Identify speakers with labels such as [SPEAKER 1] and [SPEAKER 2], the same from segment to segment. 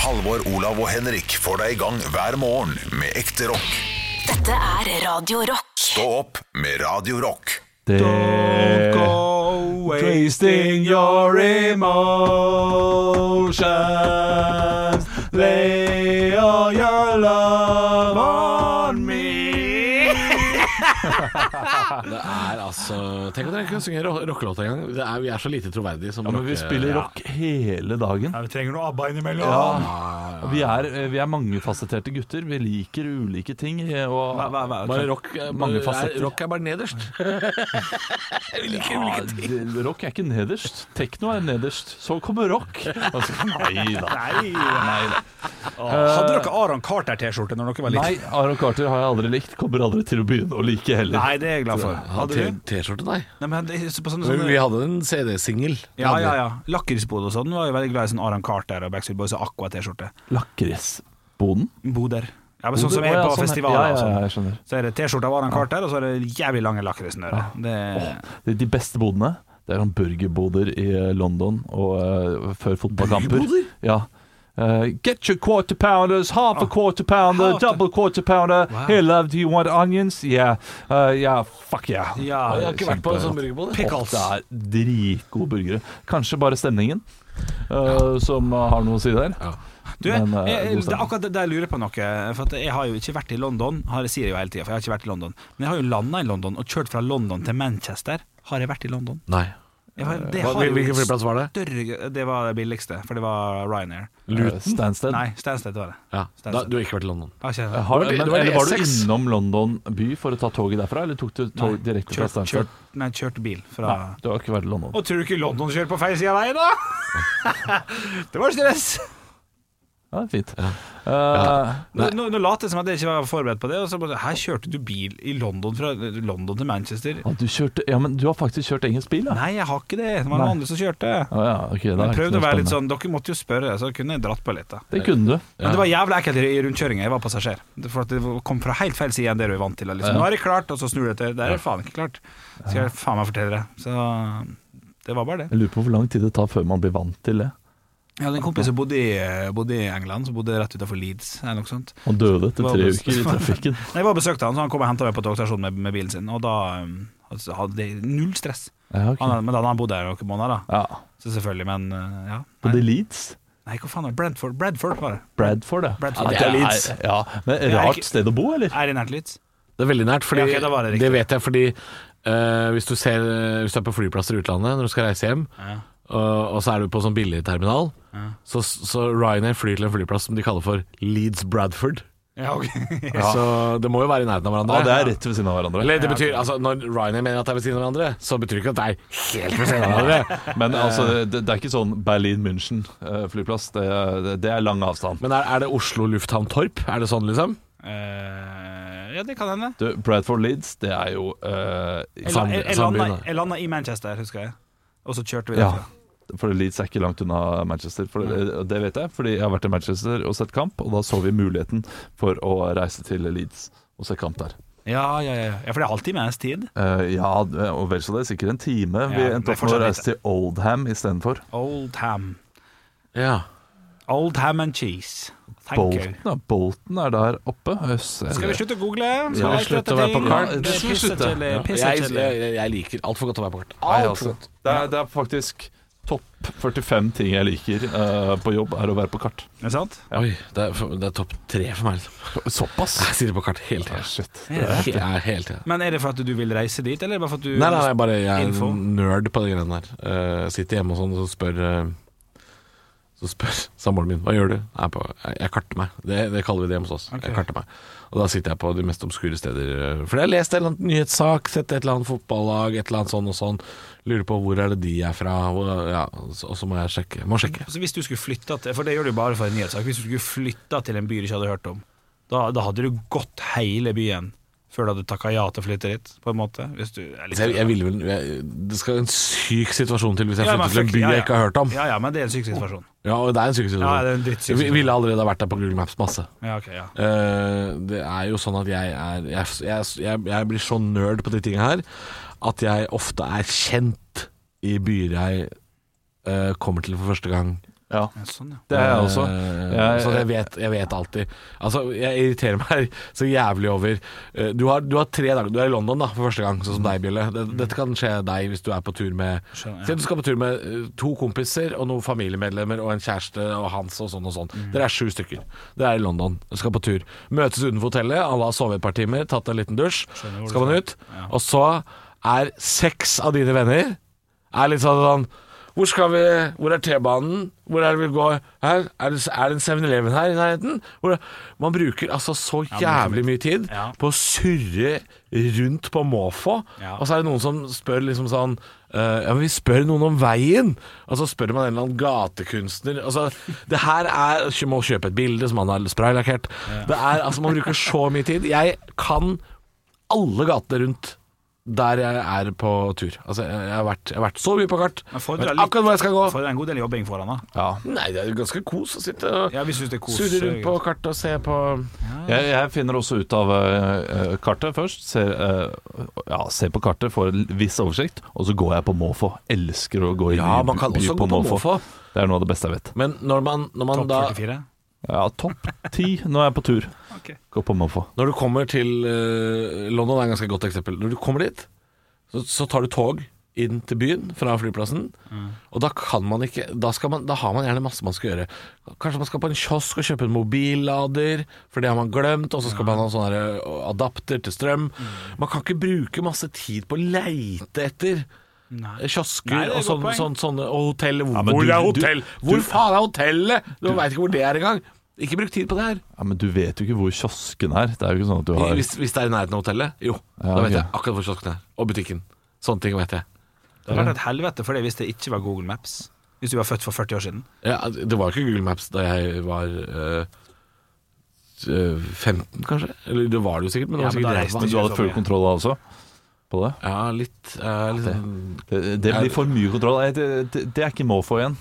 [SPEAKER 1] Halvor, Olav og Henrik får deg i gang hver morgen med ekte rock.
[SPEAKER 2] Dette er Radio Rock.
[SPEAKER 1] Stå opp med Radio Rock.
[SPEAKER 3] Det
[SPEAKER 4] go wasting your emotions. Lay all your love on me.
[SPEAKER 5] Det er altså Tenk at dere ikke kan synge ro- rockelåt engang. Det er- Vi er så lite troverdige som
[SPEAKER 3] ja, men vi
[SPEAKER 5] rocke-
[SPEAKER 3] spiller rock hele dagen.
[SPEAKER 4] Ja, vi trenger noe ABBA innimellom.
[SPEAKER 3] Ja. Vi er, vi er mangefasetterte gutter. Vi liker ulike ting. eh, Og
[SPEAKER 5] Ja. Bare rock, er-
[SPEAKER 3] Mange
[SPEAKER 5] er,
[SPEAKER 3] fasetter.
[SPEAKER 5] rock er bare nederst. Vi liker ulike ting.
[SPEAKER 3] Ja, det- rock er ikke nederst. Tekno er nederst. Så kommer rock. Altså, nei da.
[SPEAKER 6] Hadde dere Aron Carter-T-skjorte når dere var liten?
[SPEAKER 3] Nei, Aron Carter har jeg aldri likt. Kommer aldri til å begynne å like heller.
[SPEAKER 6] Nei, det er jeg glad for. Hadde
[SPEAKER 5] T-
[SPEAKER 6] du?
[SPEAKER 5] T-skjorte, nei.
[SPEAKER 6] Nei, men jeg husker på sånne,
[SPEAKER 5] Men Vi
[SPEAKER 6] sånne
[SPEAKER 5] hadde en CD-singel.
[SPEAKER 6] ja, ja, ja. Lakrisbod og sånn var jo veldig glad i sånn Aron Carter og Backstreet Boys og Aqua-T-skjorte.
[SPEAKER 3] Lakrisboden?
[SPEAKER 6] Boder. Ja, men sånn som
[SPEAKER 3] Å,
[SPEAKER 6] er
[SPEAKER 3] ja,
[SPEAKER 6] på
[SPEAKER 3] sånn,
[SPEAKER 6] festivaler
[SPEAKER 3] ja,
[SPEAKER 6] og
[SPEAKER 3] ja, ja,
[SPEAKER 6] sånn.
[SPEAKER 3] jeg skjønner.
[SPEAKER 6] Så er det T-skjorte av Aron Carter, og så er det jævlig lange lakrissnører. Det
[SPEAKER 3] De, de beste bodene Det er sånn burgerboder i eh, London og, eh, Før fotballkamper ja. Eh, Get your quarter pounders Half
[SPEAKER 6] Ah.
[SPEAKER 3] a quarter pounder Double quarter pounder Hey love, do you want onions? Yeah, uh, yeah fuck yeah
[SPEAKER 6] Ja,
[SPEAKER 5] Jeg har ikke vært på en sånn burgerbod. jeg.
[SPEAKER 3] Pickles Det er dritgode burgere Kanskje bare stemningen eh, Som har noe å si der
[SPEAKER 6] Du,
[SPEAKER 3] Men, eh, god
[SPEAKER 6] jeg, det er
[SPEAKER 3] stemning.
[SPEAKER 6] akkurat det der lurer jeg på noe. For at jeg har jo ikke vært i London. Har, jeg sier jeg jo hele tiden, for jeg har ikke vært i London. Men jeg har jo landa i London og kjørt fra London til Manchester. Har jeg vært i London?
[SPEAKER 5] Nei.
[SPEAKER 6] Jeg
[SPEAKER 3] Eh,
[SPEAKER 6] har, det
[SPEAKER 5] Hva-
[SPEAKER 6] har jo
[SPEAKER 5] Hvilken flyplass var det?
[SPEAKER 6] større Det var det billigste, for det var Ryanair.
[SPEAKER 3] Eh, Stansted
[SPEAKER 6] Nei, Stansted var det.
[SPEAKER 5] Ja. Da, du har ikke vært i London?
[SPEAKER 6] Jeg har
[SPEAKER 3] Jeg
[SPEAKER 6] ikke-
[SPEAKER 3] har,
[SPEAKER 5] Det var-
[SPEAKER 3] men,
[SPEAKER 5] det var
[SPEAKER 3] eller var du
[SPEAKER 5] E6.
[SPEAKER 3] innom London by for å ta toget derfra, eller tok du tog direkte fra
[SPEAKER 6] Kjørt,
[SPEAKER 3] Stansted?
[SPEAKER 6] kjørt, nei, kjørt bil
[SPEAKER 3] Nei,
[SPEAKER 6] fra
[SPEAKER 3] du har ikke vært i London.
[SPEAKER 6] Og tror du ikke London kjører på feil side av veien, da?! det var stress!
[SPEAKER 3] Ja, det er fint. Eh,
[SPEAKER 6] Nå, nå, nå later jeg som at jeg ikke var forberedt på det. Og så bare, Her kjørte du bil i London fra London til Manchester.
[SPEAKER 3] Ja, du kjørte, ja, men du har faktisk kjørt engelsk bil, da.
[SPEAKER 6] Nei, jeg har ikke det. Det var
[SPEAKER 3] Nei.
[SPEAKER 6] noen andre som kjørte.
[SPEAKER 3] Å ja, ok, da er
[SPEAKER 6] Jeg
[SPEAKER 3] ikke
[SPEAKER 6] prøvde å
[SPEAKER 3] noe
[SPEAKER 6] være litt
[SPEAKER 3] spennende.
[SPEAKER 6] sånn Dere måtte jo spørre, så kunne jeg dratt på litt. da
[SPEAKER 3] Det kunne du.
[SPEAKER 6] Men det var jævlig ekkelt i rundkjøringa. Jeg var passasjer. For at det kom fra helt feil side enn det du er vant til. og Liksom. Nå er det klart, og så snur du etter. Det er faen ikke klart. Skal jeg faen meg fortelle det. Så det var bare det.
[SPEAKER 3] Jeg lurer på hvor lang tid det tar før man blir vant til det.
[SPEAKER 6] Jeg hadde en kompis som bodde i, bodde i England, som bodde rett utenfor Leeds eller noe sånt.
[SPEAKER 3] Han døde etter
[SPEAKER 6] Hva
[SPEAKER 3] tre
[SPEAKER 6] var det?
[SPEAKER 3] uker i trafikken.
[SPEAKER 6] Nei, Jeg var og besøkte han, så han kom og henta meg på togstasjonen med, med bilen sin, og da um, altså, hadde jeg null stress.
[SPEAKER 3] Ja, ok.
[SPEAKER 6] Han, men da hadde han bodd der noen måneder, da.
[SPEAKER 3] ja.
[SPEAKER 6] Så selvfølgelig, men uh, ja.
[SPEAKER 3] Både
[SPEAKER 6] Nei,
[SPEAKER 3] Leeds
[SPEAKER 6] nei hva faen var det? Brentford, Bradford var det.
[SPEAKER 3] Bradford, ja.
[SPEAKER 6] Bradford.
[SPEAKER 3] Ja,
[SPEAKER 5] Det er
[SPEAKER 3] Leeds. Ja, men rart
[SPEAKER 6] ikke-
[SPEAKER 3] sted å bo, eller?
[SPEAKER 6] Er det nært Leeds?
[SPEAKER 5] Det er veldig nært, fordi
[SPEAKER 6] Ja, ok, da var det
[SPEAKER 5] det,
[SPEAKER 6] riktig.
[SPEAKER 5] vet jeg fordi eh, hvis, du ser, hvis du er på flyplasser i utlandet når du skal reise hjem, og, og så er du på sånn billigterminal, så, så Ryanair flyr til en flyplass som de kaller for Leeds Bradford.
[SPEAKER 6] Ja, ok.
[SPEAKER 5] Så det må jo være i nærheten av
[SPEAKER 3] Ja,
[SPEAKER 5] hverandre.
[SPEAKER 3] det er rett ved siden av hverandre.
[SPEAKER 5] Eller det betyr, altså Når Ryanair mener at det er ved siden av hverandre, så betyr det ikke at det er helt ved siden av hverandre.
[SPEAKER 3] Men altså, det, det er ikke sånn Berlin-München-flyplass. Det, det, det er lang avstand.
[SPEAKER 5] Men er, er det Oslo lufthavn Torp? Er det sånn, liksom?
[SPEAKER 6] Eh, ja, det kan hende.
[SPEAKER 3] Du, Bradford Leeds, det er jo eh,
[SPEAKER 6] Jeg,
[SPEAKER 5] Sam-
[SPEAKER 6] la- jeg, jeg,
[SPEAKER 5] samme
[SPEAKER 6] landa,
[SPEAKER 5] byen, da.
[SPEAKER 6] jeg landa i Manchester, husker jeg. Og så kjørte vi
[SPEAKER 3] Ja.
[SPEAKER 6] derfra.
[SPEAKER 3] For Leeds er ikke langt unna Manchester. For det, det vet jeg, fordi jeg har vært i Manchester og sett kamp, og da så vi muligheten for å reise til Leeds og se kamp der.
[SPEAKER 6] Ja, ja, ja. ja for det er alltid mens tid.
[SPEAKER 3] Eh, ja, og vel så det, sikkert en time. vi
[SPEAKER 6] Ja,
[SPEAKER 3] endte opp med
[SPEAKER 6] det er
[SPEAKER 3] å
[SPEAKER 6] fortsatt
[SPEAKER 3] reise til Oldham istedenfor.
[SPEAKER 6] Oldham.
[SPEAKER 5] Ja.
[SPEAKER 6] Oldham and cheese. Thank you.
[SPEAKER 3] Bolton, ja, Bolton er der oppe. Øss,
[SPEAKER 6] Skal vi slutte å google?
[SPEAKER 3] Ja,
[SPEAKER 6] Skal vi
[SPEAKER 5] slutt å være på
[SPEAKER 6] ting?
[SPEAKER 5] kart.
[SPEAKER 6] Det
[SPEAKER 3] Det
[SPEAKER 6] er
[SPEAKER 3] skal vi slutte. Ja.
[SPEAKER 6] pissekjedelig.
[SPEAKER 5] Jeg,
[SPEAKER 6] Pissekjedelig.
[SPEAKER 5] jeg, jeg liker altfor godt å være på kart.
[SPEAKER 3] Nei,
[SPEAKER 5] Alt for
[SPEAKER 3] altså,
[SPEAKER 5] godt.
[SPEAKER 3] det, er, det er faktisk topp 45 ting jeg liker eh, på jobb, er å være på kart.
[SPEAKER 6] Er det sant?
[SPEAKER 5] Oi, det er, for- det er topp tre for meg. Liksom.
[SPEAKER 3] Såpass?
[SPEAKER 5] Jeg sitter på kart hele tida.
[SPEAKER 3] Ah, Shit.
[SPEAKER 5] Ja, hele tida.
[SPEAKER 6] Men er det for at du vil reise dit, eller er det bare for at du
[SPEAKER 5] Nei, nei, nei, bare jeg er
[SPEAKER 6] Info.
[SPEAKER 5] en nerd på de greiene der. Eh, sitter hjemme og sånn, og så spør eh, Så spør samboeren min hva gjør du? Jeg, er på, jeg, jeg karter meg. Det, det kaller vi det hjemme hos oss. Jeg karter meg. Og da sitter jeg på de mest obskure steder. eh, For jeg har lest en eller annen nyhetssak, sett et eller annet fotballag, et eller annet sånn og sånn. Lurer på hvor er det de er fra, hvor, ja, så- og så må jeg sjekke. Må sjekke.
[SPEAKER 6] Så Altså, hvis du skulle flytta til For det gjør du jo bare for en nyhetssak. Hvis du skulle flytta til en by du ikke hadde hørt om, da, da hadde du gått hele byen før du hadde takka ja til å flytte dit, på en måte? Hvis du er litt
[SPEAKER 5] Så jeg, jeg ville vel jeg, Det skal en syk situasjon til hvis jeg
[SPEAKER 6] Ja, men
[SPEAKER 5] flytter til en
[SPEAKER 6] fuck,
[SPEAKER 5] by
[SPEAKER 6] ja,
[SPEAKER 5] jeg
[SPEAKER 6] ja.
[SPEAKER 5] ikke har hørt om.
[SPEAKER 6] sånn. Ja, ja, men det er en syk situasjon.
[SPEAKER 5] Ja, og det er en syk situasjon.
[SPEAKER 6] Ja, det er en drittsyk
[SPEAKER 5] Jeg ville allerede ha vært der på Google Maps masse.
[SPEAKER 6] Ja, ok, ja.
[SPEAKER 5] Eh, det er jo sånn at jeg er jeg, jeg, jeg, jeg blir så nerd på de tingene her at jeg ofte er kjent i byer jeg eh, kommer til for første gang
[SPEAKER 3] Ja,
[SPEAKER 6] Ja, sånn, ja.
[SPEAKER 3] det er jeg også.
[SPEAKER 5] Eh,
[SPEAKER 3] Jeg-
[SPEAKER 5] så jeg vet, jeg vet alltid. Altså, jeg irriterer meg så jævlig over eh, du har, du har tre dager Du er i London da, for første gang, sånn som deg, Bjelle. Det- Dette kan skje deg hvis du er på tur med
[SPEAKER 6] Skjønner, ja.
[SPEAKER 5] Se, du skal på tur med eh, to kompiser og noen familiemedlemmer og en kjæreste og hans og sånn og sånn. Dere er sju stykker. Dere er i London, dere skal på tur. Møtes utenfor hotellet, alle har sovet et par timer, tatt en liten dusj.
[SPEAKER 6] hvor
[SPEAKER 5] Skal man ut. Og så er seks av dine venner er litt sånn, sånn Hvor skal vi Hvor er T-banen? Hvor er det vi går? Her? Er det, er det en 7-Eleven her i nærheten? Hvor, man bruker altså så jævlig mye tid
[SPEAKER 6] Ja.
[SPEAKER 5] på å surre rundt på måfå,
[SPEAKER 6] Ja.
[SPEAKER 5] og så er det noen som spør liksom sånn eh, ja, men Vi spør noen om veien, og så spør man en eller annen gatekunstner Altså, det her er Må kjøpe et bilde som han har spraylakkert. Det er, altså, man bruker så mye tid. Jeg kan alle gatene rundt der jeg er på tur. Altså, jeg jeg har vært, jeg har vært så mye på kart.
[SPEAKER 6] Men får
[SPEAKER 5] Vet
[SPEAKER 6] dere litt-
[SPEAKER 5] akkurat hvor jeg skal gå.
[SPEAKER 6] Får en god del jobbing foran, da.
[SPEAKER 5] Nei, det er jo ganske kos å sitte og
[SPEAKER 6] Ja, vi synes det er kos. eh,
[SPEAKER 5] surre rundt på kart og se på
[SPEAKER 3] Jeg, jeg finner også ut av eh, eh, kartet først. Ser, eh, ja, ser på kartet, får en viss oversikt, og så går jeg på måfå. Elsker å gå inn
[SPEAKER 5] Ja,
[SPEAKER 3] i
[SPEAKER 5] man kan
[SPEAKER 3] by
[SPEAKER 5] også gå på måfå.
[SPEAKER 3] Det er noe av det beste jeg vet.
[SPEAKER 5] Men når man, når man
[SPEAKER 6] Topp
[SPEAKER 5] da
[SPEAKER 6] 44.
[SPEAKER 3] Ja, topp ti når jeg er på tur.
[SPEAKER 6] Ok.
[SPEAKER 3] Gå på måfå.
[SPEAKER 5] Når du kommer til eh, London er et ganske godt eksempel. Når du kommer dit, så, så tar du tog inn til byen fra flyplassen. Og da kan man ikke da, skal man, da har man gjerne masse man skal gjøre. Kanskje man skal på en kiosk og kjøpe en mobillader, for det har man glemt. Og så skal man ha en sånn her, eh, adapter til strøm. Man kan ikke bruke masse tid på å leite etter.
[SPEAKER 6] Nei.
[SPEAKER 5] Kiosker
[SPEAKER 6] Nei, det er
[SPEAKER 5] og
[SPEAKER 6] et
[SPEAKER 5] sånn,
[SPEAKER 6] godt poeng.
[SPEAKER 5] sånn, sånne Og hotell Hvor,
[SPEAKER 3] men du-
[SPEAKER 5] er
[SPEAKER 3] du-
[SPEAKER 5] hotell? hvor faen er hotellet? Du, veit ikke hvor det er engang. Ikke bruk tid på det her.
[SPEAKER 3] Ja, men du vet jo ikke hvor kiosken er. Det er jo ikke sånn at du har
[SPEAKER 5] Hvis, hvis det er i nærheten av hotellet? Jo.
[SPEAKER 3] Ja,
[SPEAKER 5] da
[SPEAKER 3] ok.
[SPEAKER 5] vet jeg akkurat hvor kiosken er. Og butikken. Sånne ting vet jeg.
[SPEAKER 6] Det hadde vært et helvete for det hvis det ikke var Google Maps. Hvis du var født for 40 år siden.
[SPEAKER 5] Ja, det var jo ikke Google Maps da jeg var eh, eh, 15, kanskje? Eller det var det jo sikkert, men det
[SPEAKER 6] Ja, men
[SPEAKER 5] sånn, var
[SPEAKER 6] da
[SPEAKER 5] sikkert
[SPEAKER 6] reiste
[SPEAKER 5] ræva.
[SPEAKER 3] Men du hadde full kontroll da også? På det?
[SPEAKER 5] Ja, litt, eh, litt sånn-
[SPEAKER 3] Det, det blir for mye kontroll. Nei, Det, det, det er ikke måfå igjen.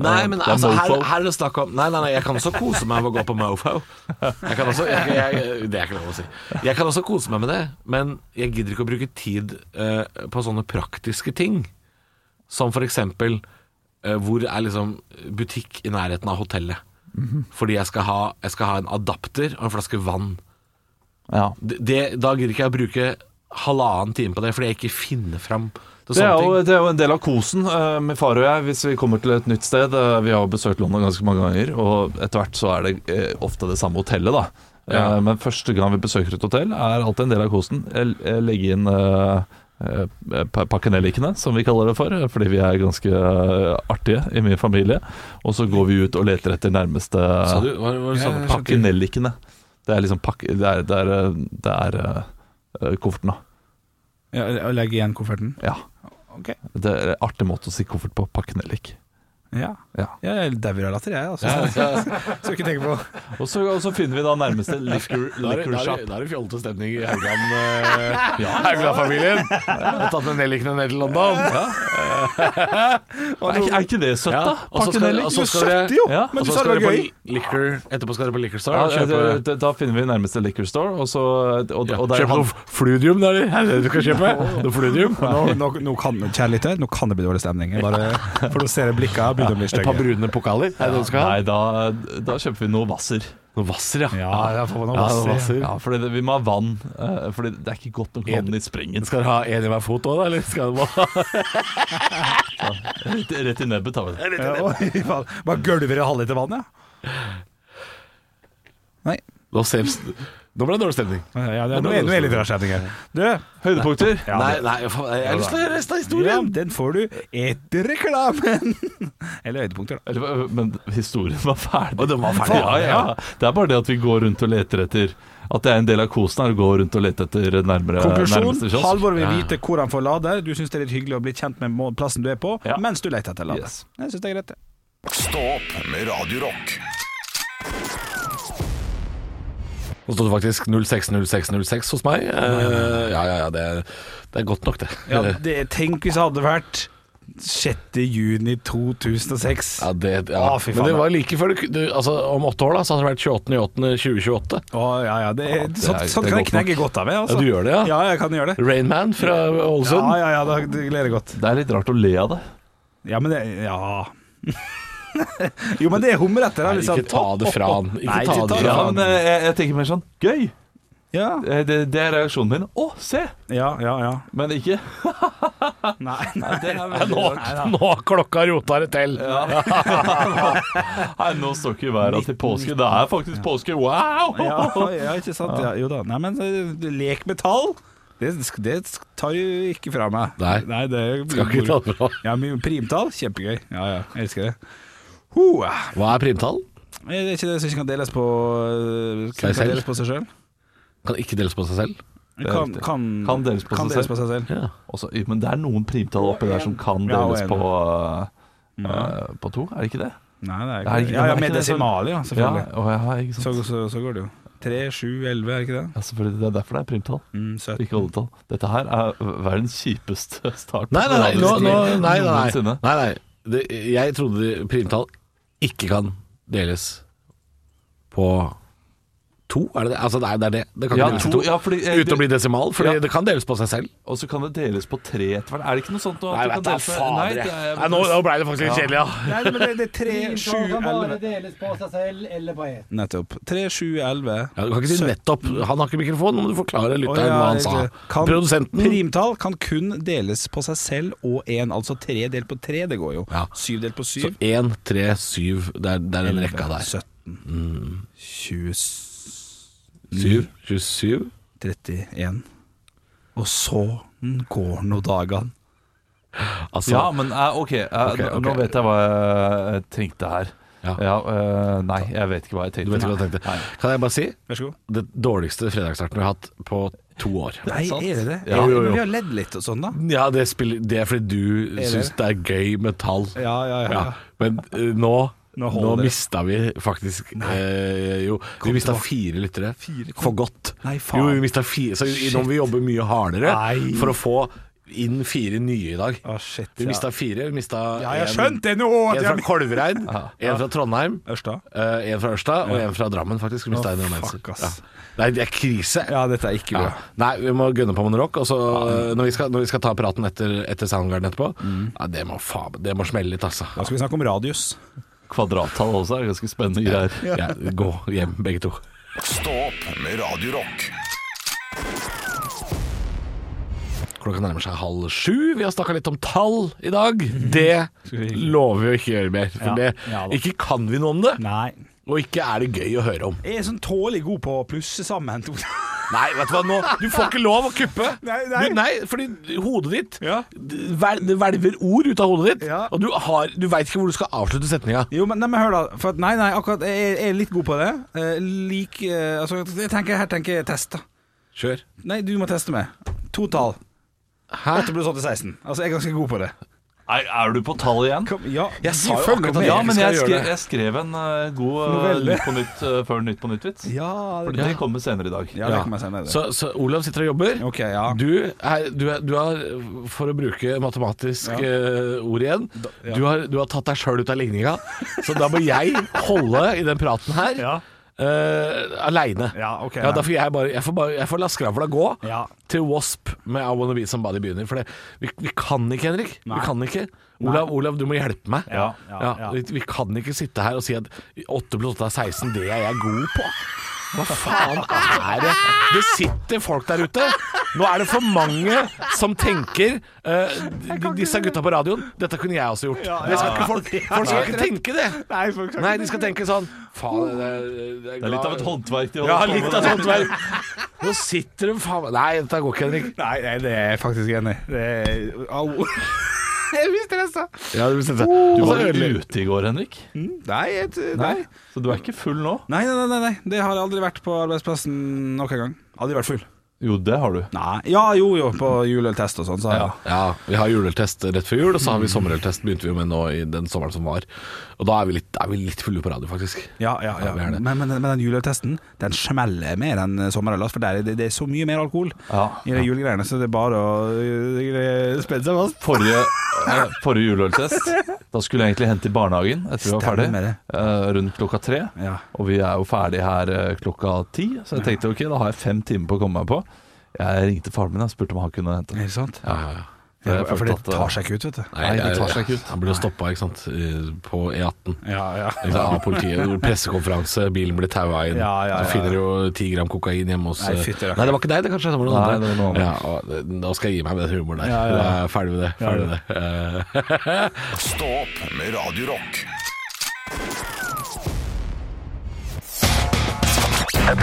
[SPEAKER 5] Nei, men
[SPEAKER 3] Det er
[SPEAKER 5] altså, her,
[SPEAKER 3] mofo.
[SPEAKER 5] her er det snakk om Nei, nei, nei, jeg kan også kose meg med å gå på mofo. Jeg kan også, jeg, jeg, det er ikke lov å si. Jeg kan også kose meg med det, men jeg gidder ikke å bruke tid eh, på sånne praktiske ting. Som for eksempel eh, hvor er liksom butikk i nærheten av hotellet? Fordi jeg skal, ha, jeg skal ha en adapter og en flaske vann.
[SPEAKER 3] Ja.
[SPEAKER 5] Det, det, da gidder ikke jeg å bruke halvannen time på det, fordi jeg ikke finner fram til
[SPEAKER 3] Det
[SPEAKER 5] sånne
[SPEAKER 3] er, jo,
[SPEAKER 5] ting.
[SPEAKER 3] det er jo en del av kosen eh, med far og jeg hvis vi kommer til et nytt sted. Eh, vi har jo besøkt London ganske mange ganger, og etter hvert så er det eh, ofte det samme hotellet, da. Eh,
[SPEAKER 5] Ja.
[SPEAKER 3] men første gang vi besøker et hotell, er alltid en del av kosen. Jeg, jeg legger inn eh, eh, pa- Pakkanelikene, som vi kaller det for, eh, fordi vi er ganske eh, artige i min familie. Og så går vi ut og leter etter nærmeste eh,
[SPEAKER 5] Sa du, hva, hva sa du?
[SPEAKER 6] jeg skjønte.
[SPEAKER 5] Pakken?
[SPEAKER 3] Pakkanelikene. Det er liksom pakke... Det er, det er, eh, det er eh, kofferten, da.
[SPEAKER 6] Ja, og legge igjen kofferten?
[SPEAKER 3] Ja.
[SPEAKER 6] Ok.
[SPEAKER 3] Det er en artig måte å si koffert på. Pakkanelik.
[SPEAKER 6] Ja.
[SPEAKER 3] Ja.
[SPEAKER 6] ja jeg dauer av latter, jeg. Altså. Skal ikke tenke på
[SPEAKER 3] Og så, og så finner vi da nærmeste liquor,
[SPEAKER 5] Da er det-
[SPEAKER 3] liquor
[SPEAKER 5] da er
[SPEAKER 3] shop.
[SPEAKER 5] det- da er det fjollete stemning i Haugland, eh, Haugland-familien. Har tatt med nellikene ned til London.
[SPEAKER 3] Er, ikke- er ikke det søtt, da?
[SPEAKER 5] og så
[SPEAKER 3] Pakken
[SPEAKER 5] skal-
[SPEAKER 3] Nellik?
[SPEAKER 5] og så skal dere-
[SPEAKER 6] Søtt, jo!
[SPEAKER 3] Ja.
[SPEAKER 6] Men
[SPEAKER 5] og
[SPEAKER 6] du
[SPEAKER 5] så
[SPEAKER 6] sa det
[SPEAKER 5] skal
[SPEAKER 6] var
[SPEAKER 5] dere
[SPEAKER 6] gøy.
[SPEAKER 5] på liquor Etterpå skal dere på liquor store
[SPEAKER 3] Ja,
[SPEAKER 5] og kjøpe,
[SPEAKER 3] det- da finner vi nærmeste liquor store, og så og,
[SPEAKER 5] ja,
[SPEAKER 3] og der,
[SPEAKER 5] kjøpe noe fludium, da, eller? Er det det du skal kjøpe? Noe fludium?
[SPEAKER 6] Nå, nå, nå kan, kjære lytter, nå kan det bli dårlig stemning. Jeg bare produserer blikka, begynner å bli
[SPEAKER 5] Et par
[SPEAKER 6] stygge.
[SPEAKER 5] brune pokaler? Er det det du skal ha?
[SPEAKER 3] Nei, da, da kjøper vi noe Hvasser.
[SPEAKER 5] Noe Hvasser, ja.
[SPEAKER 6] Ja, jeg får noe
[SPEAKER 5] Ja, noe
[SPEAKER 6] vasser.
[SPEAKER 5] Hvasser.
[SPEAKER 3] Ja, fordi det, vi må ha vann. eh, Fordi det er ikke godt nok vann i sprengen.
[SPEAKER 5] Skal dere ha en i hver fot òg, da? Eller skal dere bare
[SPEAKER 3] Rett, rett i nebbet tar vi det.
[SPEAKER 6] Ja, oi, faen. Bare gulver i halvliter vann, ja. Nei.
[SPEAKER 5] Nå ser- Nå ble det dårlig stemning.
[SPEAKER 6] Ja, det er, nå er nå er det litt rar stemning her. Du,
[SPEAKER 3] Høydepunkter.
[SPEAKER 6] Ja,
[SPEAKER 5] Nei,
[SPEAKER 6] det-
[SPEAKER 5] nei, faen, jeg har lyst til å høre resten av
[SPEAKER 6] ja,
[SPEAKER 5] historien.
[SPEAKER 6] den får du etter reklamen. Eller høydepunkter, da.
[SPEAKER 3] Eller, eh, Men historien var ferdig.
[SPEAKER 5] Og den var ferdig.
[SPEAKER 3] Ja, ja. Det er bare det at vi går rundt og leter etter At det er en del av kosen her å gå rundt og lete etter nærmere
[SPEAKER 6] Konklusjon.
[SPEAKER 3] nærmeste kiosk.
[SPEAKER 6] Halvor vil vite hvor han får lade. Du syns det er litt hyggelig å bli kjent med må- plassen du er på,
[SPEAKER 3] Ja.
[SPEAKER 6] mens du leter etter lade.
[SPEAKER 3] Yes.
[SPEAKER 6] Jeg syns det er greit, det.
[SPEAKER 1] Stå opp med Radio Rock.
[SPEAKER 5] Nå står det faktisk 060606 hos meg. Eh, ja, ja, ja, det, er- det er godt nok, det.
[SPEAKER 6] Ja,
[SPEAKER 5] Eh,
[SPEAKER 6] det. Tenk hvis det hadde vært 6. juni 2006.
[SPEAKER 5] Ja, det, ja.
[SPEAKER 6] Å, fy faen,
[SPEAKER 5] Men det
[SPEAKER 6] da.
[SPEAKER 5] var like før du, ku- du altså, Om åtte år da, så hadde det vært 28.8.2028.
[SPEAKER 6] Å, ja, ja, det, er-
[SPEAKER 3] det er-
[SPEAKER 6] sånt,
[SPEAKER 3] det
[SPEAKER 6] sånt
[SPEAKER 3] er
[SPEAKER 6] kan jeg
[SPEAKER 3] godt
[SPEAKER 6] knegge godt av. Jeg, altså.
[SPEAKER 5] Ja, du gjør det, ja? sånn.
[SPEAKER 6] Ja, jeg kan gjøre det.
[SPEAKER 5] Rainman fra
[SPEAKER 6] Ja,
[SPEAKER 5] Ålesund.
[SPEAKER 6] ja, ja, det, det gleder jeg godt.
[SPEAKER 3] Det er litt rart å le av det.
[SPEAKER 6] Ja, men det Ja. Jo, men det er humretter. da, liksom.
[SPEAKER 5] Nei,
[SPEAKER 6] hvis
[SPEAKER 5] ikke
[SPEAKER 6] at-
[SPEAKER 5] ta det fra han. Ikke
[SPEAKER 6] Nei,
[SPEAKER 5] ta
[SPEAKER 6] ikke
[SPEAKER 5] det
[SPEAKER 6] ta
[SPEAKER 5] fra
[SPEAKER 3] Ja,
[SPEAKER 5] han.
[SPEAKER 3] men eh, jeg, jeg tenker mer sånn Gøy!
[SPEAKER 6] Ja,
[SPEAKER 3] Eh, Det, det er reaksjonen min. Å, se!
[SPEAKER 6] ja, ja. ja.
[SPEAKER 3] Men ikke
[SPEAKER 6] Nei, nei.
[SPEAKER 3] det er
[SPEAKER 5] Ja,
[SPEAKER 3] veldig
[SPEAKER 5] Nå,
[SPEAKER 3] rart.
[SPEAKER 5] nå har klokka rota det til.
[SPEAKER 3] Nei, nå står ikke været til påske. Det er faktisk påske! Wow!
[SPEAKER 6] Ja, ja, ikke sant. Ja, jo da. Nei, men eh, lek med tall. Det, det tar jo ikke fra meg.
[SPEAKER 5] Nei.
[SPEAKER 6] det
[SPEAKER 5] Skal ikke ta det fra.
[SPEAKER 6] Ja, men primtall, kjempegøy. Ja, ja, jeg elsker det. Ho, eh,
[SPEAKER 5] Hva er primtall?
[SPEAKER 6] er det ikke det som ikke kan deles på eh,
[SPEAKER 5] Seg
[SPEAKER 6] Kan
[SPEAKER 5] selv?
[SPEAKER 6] kan deles på seg selv?
[SPEAKER 5] Kan ikke deles på seg selv.
[SPEAKER 3] er
[SPEAKER 6] Kan,
[SPEAKER 3] riktig.
[SPEAKER 6] kan,
[SPEAKER 3] Kan deles på seg selv.
[SPEAKER 6] selv.
[SPEAKER 5] Ja.
[SPEAKER 3] Også, men det er noen primtall oppi der som kan
[SPEAKER 6] Ja, og
[SPEAKER 3] deles
[SPEAKER 6] en.
[SPEAKER 3] på, eh, eh, på to, er det ikke det?
[SPEAKER 6] Nei, det
[SPEAKER 3] Det er
[SPEAKER 6] er ikke
[SPEAKER 3] ikke-
[SPEAKER 6] det. Ja, ja,
[SPEAKER 3] det er
[SPEAKER 6] med
[SPEAKER 3] ikke det som-
[SPEAKER 6] desimaler, ja,
[SPEAKER 3] Ja,
[SPEAKER 6] selvfølgelig.
[SPEAKER 3] å, ja ikke
[SPEAKER 6] Så,
[SPEAKER 3] sant.
[SPEAKER 6] så, så går det jo. 3, 7, 11, er ikke det?
[SPEAKER 3] Ja, selvfølgelig, Det er derfor det er primtall,
[SPEAKER 6] Mm, 17.
[SPEAKER 3] ikke oldetall. Dette her er verdens kjipeste start.
[SPEAKER 5] Nei, nei, nei. Nå, nå, nei, nei, nei.
[SPEAKER 3] Noensinne.
[SPEAKER 5] nei, nei. Det, jeg trodde primtall ikke kan deles på to. Er det det? Altså, nei, det er det. Det kan
[SPEAKER 3] Ja,
[SPEAKER 5] ikke deles
[SPEAKER 3] to-
[SPEAKER 5] på to.
[SPEAKER 3] ja, fordi, eh,
[SPEAKER 5] Uten å bli desimal, for
[SPEAKER 3] ja.
[SPEAKER 5] det kan deles på seg selv.
[SPEAKER 3] Og så kan det deles på tre etter hvert. Er det ikke noe sånt? nå, at
[SPEAKER 5] Nei,
[SPEAKER 3] du kan
[SPEAKER 5] vet da
[SPEAKER 3] dele på- Nei,
[SPEAKER 5] fader.
[SPEAKER 3] det er-
[SPEAKER 5] Nei, Nå nå ble det faktisk litt kjedelig, ja.
[SPEAKER 6] Nei, men det, det er 3, 7,
[SPEAKER 7] Primtall kan bare
[SPEAKER 6] 11.
[SPEAKER 7] deles på seg selv eller på ett.
[SPEAKER 6] Nettopp. 3, 7, 11.
[SPEAKER 5] Ja, Du kan ikke si nettopp. Han har ikke mikrofon, nå må du forklare lytteren hva han sa.
[SPEAKER 6] Kan,
[SPEAKER 5] Produsenten
[SPEAKER 6] Primtall kan kun deles på seg selv og én, altså tre delt på tre, det går jo.
[SPEAKER 5] Ja.
[SPEAKER 6] Syv delt på syv.
[SPEAKER 5] Så 1, 3, 7 Det er, det er den rekka der.
[SPEAKER 6] 17, Mm. 20,
[SPEAKER 5] 7, 27
[SPEAKER 6] 31. Og så går nå dagene.
[SPEAKER 5] Altså,
[SPEAKER 3] Ja, men eh, ok, eh,
[SPEAKER 5] Ok,
[SPEAKER 3] nå-
[SPEAKER 5] ok.
[SPEAKER 3] nå vet jeg hva jeg trengte her.
[SPEAKER 5] Ja.
[SPEAKER 3] Ja, eh, nei, jeg vet ikke hva jeg
[SPEAKER 5] du
[SPEAKER 3] tenkte.
[SPEAKER 5] vet ikke hva jeg tenkte. Kan jeg bare si
[SPEAKER 6] Vær så god.
[SPEAKER 5] det dårligste fredagsstarten vi har hatt på to år?
[SPEAKER 6] Nei,
[SPEAKER 3] sant?
[SPEAKER 6] er det det?
[SPEAKER 3] Ja.
[SPEAKER 5] Jo, jo, jo.
[SPEAKER 6] Men vi har ledd litt og sånn, da.
[SPEAKER 5] Ja, det, spiller, det er fordi du
[SPEAKER 6] det?
[SPEAKER 5] syns det er gøy med tall.
[SPEAKER 6] Ja, ja, ja.
[SPEAKER 5] Ja, Men eh, nå
[SPEAKER 6] Nå
[SPEAKER 5] Nå,
[SPEAKER 6] holder det.
[SPEAKER 5] mista vi faktisk eh, Jo, vi mista fire lyttere. For godt.
[SPEAKER 6] Nei, faen.
[SPEAKER 5] Jo, vi mista fire Så i- nå må vi jobbe mye hardere
[SPEAKER 6] Nei.
[SPEAKER 5] for å få inn fire nye i dag.
[SPEAKER 6] Å, shit.
[SPEAKER 5] Vi mista fire. Vi mista
[SPEAKER 6] Ja, jeg
[SPEAKER 5] en-
[SPEAKER 6] skjønte det nå!
[SPEAKER 5] En fra Kolvereid, en fra Trondheim,
[SPEAKER 6] Ørsta?
[SPEAKER 5] eh, en fra Ørsta og en fra Drammen, faktisk. Vi mista
[SPEAKER 6] Å,
[SPEAKER 5] en romanser.
[SPEAKER 6] fuck, ass.
[SPEAKER 5] Ja. Nei, det er krise.
[SPEAKER 6] Ja, dette er ikke
[SPEAKER 5] Ja.
[SPEAKER 6] bra.
[SPEAKER 5] Nei, vi må gønne på med noe rock. Og så eh, når, vi skal, når vi skal ta praten etter, etter Soundgarden etterpå
[SPEAKER 6] Mm.
[SPEAKER 5] ja, det, må faen, det må smelle litt, altså.
[SPEAKER 6] Da skal vi snakke om radius.
[SPEAKER 3] Kvadrattall også er ganske spennende greier.
[SPEAKER 5] Ja, gå hjem, begge to.
[SPEAKER 1] Stå opp med Radio Rock.
[SPEAKER 5] Klokka nærmer seg halv sju. Vi har snakka litt om tall i dag. Det lover vi å ikke gjøre mer. For det,
[SPEAKER 6] Mhm. Ja, da.
[SPEAKER 5] ikke kan vi noe om det,
[SPEAKER 6] Nei.
[SPEAKER 5] og ikke er det gøy å høre om.
[SPEAKER 6] Jeg er sånn tålelig god på å plusse sammen to
[SPEAKER 5] Nei, vet du hva, nå, du får ikke lov å kuppe.
[SPEAKER 6] Nei, nei.
[SPEAKER 5] Du, nei fordi hodet ditt
[SPEAKER 6] Ja.
[SPEAKER 5] d- vel- Det hvelver ord ut av hodet ditt,
[SPEAKER 6] Ja.
[SPEAKER 5] og du, har- du veit ikke hvor du skal avslutte setninga.
[SPEAKER 6] Jo, men, nei, men hør da for at, Nei, nei, akkurat Jeg jeg er litt god på det Eh, Lik eh, Altså, jeg tenker, her tenker jeg test da
[SPEAKER 5] Kjør.
[SPEAKER 6] Nei, du må teste meg To tall
[SPEAKER 5] Hæ?
[SPEAKER 6] Dette blir sånn til 16 Altså, jeg er ganske god på det
[SPEAKER 3] Er, er du på tall igjen?
[SPEAKER 6] Kom, ja
[SPEAKER 5] Jeg sa jo
[SPEAKER 6] følger
[SPEAKER 5] akkurat
[SPEAKER 6] med.
[SPEAKER 5] at
[SPEAKER 3] Ja, men
[SPEAKER 5] skal
[SPEAKER 3] jeg
[SPEAKER 5] gjøre
[SPEAKER 3] skrev,
[SPEAKER 5] det.
[SPEAKER 3] jeg skrev en eh, god eh,
[SPEAKER 6] Novelle.
[SPEAKER 3] Nytt på nytt eh, før Nytt på nytt-vits.
[SPEAKER 6] Ja,
[SPEAKER 3] For
[SPEAKER 6] det,
[SPEAKER 3] det kommer senere i dag.
[SPEAKER 6] ja, det kommer jeg senere
[SPEAKER 5] Så, så Olav sitter og jobber.
[SPEAKER 6] Ok, ja
[SPEAKER 5] Du, er, du, er, du har, for å bruke matematisk eh, ord igjen,
[SPEAKER 6] ja.
[SPEAKER 5] du, har, du har tatt deg sjøl ut av ligninga. Så da må jeg holde i den praten her,
[SPEAKER 6] Ja.
[SPEAKER 5] eh, aleine.
[SPEAKER 6] Ja, ok
[SPEAKER 5] Ja, da får jeg bare Jeg får, bare, jeg får la skravla gå
[SPEAKER 6] Ja.
[SPEAKER 5] til Wasp med I Wanna Be Somebody begynner. For det, vi, vi kan ikke, Henrik.
[SPEAKER 6] Nei.
[SPEAKER 5] Vi kan ikke. Olav, Olav, du må hjelpe meg.
[SPEAKER 6] Ja, ja, ja.
[SPEAKER 5] Vi, vi kan ikke sitte her og si at 8 pluss 8 er 16, det er jeg god på. Hva faen er det? Det sitter folk der ute. Nå er det for mange som tenker eh, de- Disse gutta på radioen, dette kunne jeg også gjort. Det skal ikke folk, folk skal ikke tenke det.
[SPEAKER 6] Nei, folk skal
[SPEAKER 5] Nei, de skal tenke sånn Faen, det er, det er
[SPEAKER 3] Det er litt av et
[SPEAKER 5] glad-
[SPEAKER 3] håndverk. de
[SPEAKER 5] ja,
[SPEAKER 3] holder på
[SPEAKER 5] litt
[SPEAKER 3] med
[SPEAKER 5] av
[SPEAKER 3] der.
[SPEAKER 5] sånt vær. Nå sitter de faen meg Nei, dette går ikke, Henrik.
[SPEAKER 6] Nei, nei, det er jeg faktisk enig i. Det er Au Jeg blir stresset Oh.
[SPEAKER 3] Du
[SPEAKER 5] Du
[SPEAKER 3] var
[SPEAKER 5] var ødelagt.
[SPEAKER 3] ute i går, Henrik.
[SPEAKER 6] Nei, jeg, nei
[SPEAKER 3] Så du er ikke full nå?
[SPEAKER 6] Nei, nei, nei, nei Det har jeg aldri vært på arbeidsplassen noen gang Aldri vært full
[SPEAKER 3] Jo, det har du.
[SPEAKER 6] Nei Ja, jo, jo På juleøltest og sånn så, har jeg-
[SPEAKER 5] Ja, vi har juleøltest rett før jul, og så har vi sommerøltest begynte vi jo med nå i den sommeren som var. Og da er vi litt, er vi litt fulle på radio, faktisk.
[SPEAKER 6] Ja, ja,
[SPEAKER 5] Ja,
[SPEAKER 6] ja.
[SPEAKER 5] vi er det.
[SPEAKER 6] Men, men, men den juleøltesten Den smeller mer enn sommerøl, altså, for der er det, det er så mye mer alkohol
[SPEAKER 3] Ja.
[SPEAKER 6] i de julegreiene, så det er bare å øh, spenne seg fast.
[SPEAKER 3] Forrige, eh, forrige juleøltest. Da skulle jeg egentlig hente i barnehagen etter vi var ferdig.
[SPEAKER 6] Stemmer det.
[SPEAKER 3] eh, Rundt klokka tre.
[SPEAKER 6] Ja.
[SPEAKER 3] Og vi er jo ferdig her eh, klokka ti, så jeg tenkte ok, da har jeg fem timer på å komme meg på. Jeg ringte faren min og spurte om han kunne hente.
[SPEAKER 6] Er det sant?
[SPEAKER 5] Ja, ja, ja.
[SPEAKER 3] For jeg
[SPEAKER 6] Ja, for
[SPEAKER 3] følte
[SPEAKER 6] det
[SPEAKER 3] at, eh,
[SPEAKER 6] tar seg ikke ut, vet du.
[SPEAKER 5] Nei, det tar seg ikke ut. Han ble jo stoppa ikke sant, i- på E18
[SPEAKER 6] Ja, ja.
[SPEAKER 5] ikke sant, av politiet. Hvor Pressekonferanse, bilen blir taua inn.
[SPEAKER 6] Ja, ja, ja.
[SPEAKER 5] Så finner du jo ti gram kokain hjemme hos eh,
[SPEAKER 6] Nei, fytti rakkeren.
[SPEAKER 5] Nei, det var ikke deg, det kanskje. Det var noen
[SPEAKER 3] Nei,
[SPEAKER 5] andre.
[SPEAKER 3] det var noen andre.
[SPEAKER 5] Ja, og, eh, da skal jeg gi meg med den humoren der.
[SPEAKER 6] Ja, ja, ja.
[SPEAKER 5] Jeg er ferdig med det. Ferdig med det. Eh,
[SPEAKER 1] Stå opp med Radio Rock.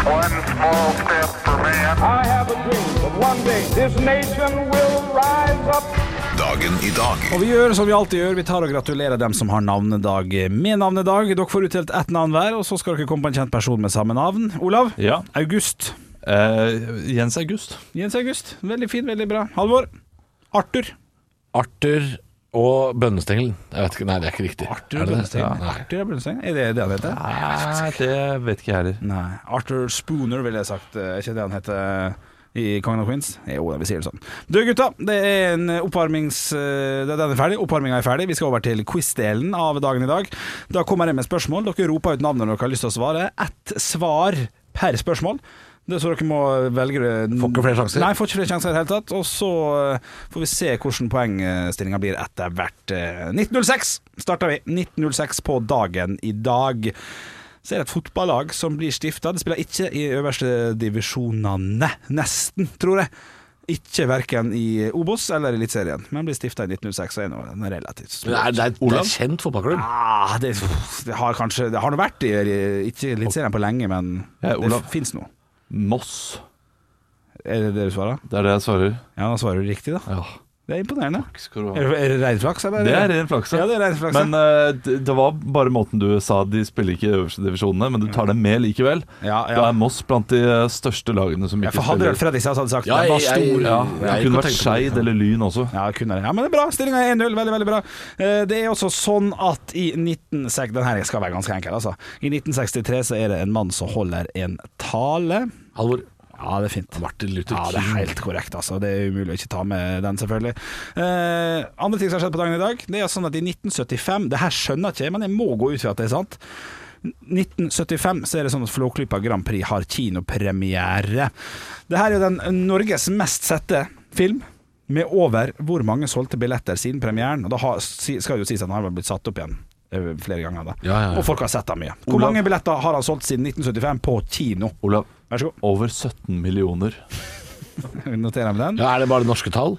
[SPEAKER 8] One small step for man. I have a dream that one day this nation will rise up.
[SPEAKER 1] Dagen i dag.
[SPEAKER 6] Og vi gjør som vi alltid gjør, vi tar og gratulerer dem som har navnedag med navnedag. Dere får utdelt ett navn hver, og så skal dere komme på en kjent person med samme navn. Olav?
[SPEAKER 3] Ja.
[SPEAKER 6] August.
[SPEAKER 3] Eh, Jens August.
[SPEAKER 6] Jens August. Veldig fin, veldig bra. Halvor? Arthur.
[SPEAKER 5] Arthur og bønnestengelen. Jeg vet ikke, nei, det er ikke riktig.
[SPEAKER 6] Arthur
[SPEAKER 5] Er det det?
[SPEAKER 6] Bønnesteng.
[SPEAKER 5] Nei.
[SPEAKER 6] Arthur er Bønnesteng. Er det det han heter?
[SPEAKER 3] Nei, Eh, det vet ikke jeg heller.
[SPEAKER 6] Nei. Arthur Spooner, ville jeg sagt. Er ikke det han heter eh, i Kongen av Queens? Jo, vi sier det sånn. Du, gutta. Det er en oppvarmings... eh, Den er ferdig. Oppvarminga er ferdig. Vi skal over til quiz-delen av dagen i dag. Da kommer jeg med spørsmål. Dere roper ut navnet dere har lyst til å svare. Ett svar per spørsmål. Det er så dere må velge Får
[SPEAKER 5] ikke flere sjanser?
[SPEAKER 6] Nei, får ikke flere sjanser i det hele tatt. Og så eh, får vi se hvordan poengstillinga blir etter hvert. Eh, 1906 starter vi. 1906 på dagen i dag. Så er det et fotballag som blir stifta. Det spiller ikke i øverste divisjonene, nesten, tror jeg. Ikke verken i Obos eller Eliteserien, men blir stifta i 1906 og er nå en relativt
[SPEAKER 5] Det
[SPEAKER 6] stor.
[SPEAKER 5] er, det er, det er en kjent fotballklubb.
[SPEAKER 6] Ah, det, det har kanskje Det har nå vært i ikke i Eliteserien på lenge, men
[SPEAKER 3] Ja,
[SPEAKER 6] det
[SPEAKER 3] Olav.
[SPEAKER 6] fins nå.
[SPEAKER 3] Moss.
[SPEAKER 6] Er det det du svarer?
[SPEAKER 3] Det er det jeg svarer.
[SPEAKER 6] Ja, da svarer du riktig, da.
[SPEAKER 3] Ja.
[SPEAKER 6] Det er imponerende.
[SPEAKER 3] Skal du ha.
[SPEAKER 6] Er det, er det rein flaks, eller?
[SPEAKER 3] Det er ren flaks.
[SPEAKER 6] Ja, det er rein flaks.
[SPEAKER 3] Men
[SPEAKER 6] ja.
[SPEAKER 3] eh, det, det var bare måten du sa de spiller ikke i øverste divisjonene, men du tar dem med likevel.
[SPEAKER 6] Ja, ja.
[SPEAKER 3] Da er Moss blant de eh, største lagene som
[SPEAKER 6] ja,
[SPEAKER 3] ikke
[SPEAKER 6] for hadde
[SPEAKER 3] spiller.
[SPEAKER 6] Ralf Fredriksen hadde sagt
[SPEAKER 5] Ja,
[SPEAKER 6] den var
[SPEAKER 5] jeg-
[SPEAKER 6] stor.
[SPEAKER 5] jeg-
[SPEAKER 3] Ja,
[SPEAKER 5] Ja,
[SPEAKER 3] det
[SPEAKER 5] jeg
[SPEAKER 3] kunne vært
[SPEAKER 5] tenkte på det.
[SPEAKER 3] Skeid eller Lyn også.
[SPEAKER 6] Ja, kunne det. Ja, men det er bra. Stillinga er 1-0. Veldig, veldig bra. Eh, Det er også sånn at i 19... sek- Den her skal være ganske enkel, altså. I 1963 så er det en mann som holder en tale.
[SPEAKER 5] Halvor.
[SPEAKER 6] Ja, det er fint.
[SPEAKER 5] Martin Luther
[SPEAKER 6] Ja, det er helt korrekt, altså. Det er umulig å ikke ta med den, selvfølgelig. Eh, andre ting som har skjedd på dagen i dag, det er sånn at i 1975 Det her skjønner jeg ikke, men jeg må gå ut fra at det er sant. 1975 så er det sånn at Flåklypa Grand Prix har kinopremiere. Det her er jo den Norges mest sette film. Med over hvor mange solgte billetter siden premieren. Og da har, si- skal det jo sies at den har blitt satt opp igjen eh, flere ganger. da
[SPEAKER 5] Ja, ja, ja.
[SPEAKER 6] Og folk har sett den mye. Hvor
[SPEAKER 3] Olav-
[SPEAKER 6] mange billetter har han solgt siden 1975 på kino?
[SPEAKER 3] Olav,
[SPEAKER 6] Vær så god.
[SPEAKER 3] over 17 millioner.
[SPEAKER 6] Noterer jeg den.
[SPEAKER 5] Ja, er det bare norske tall?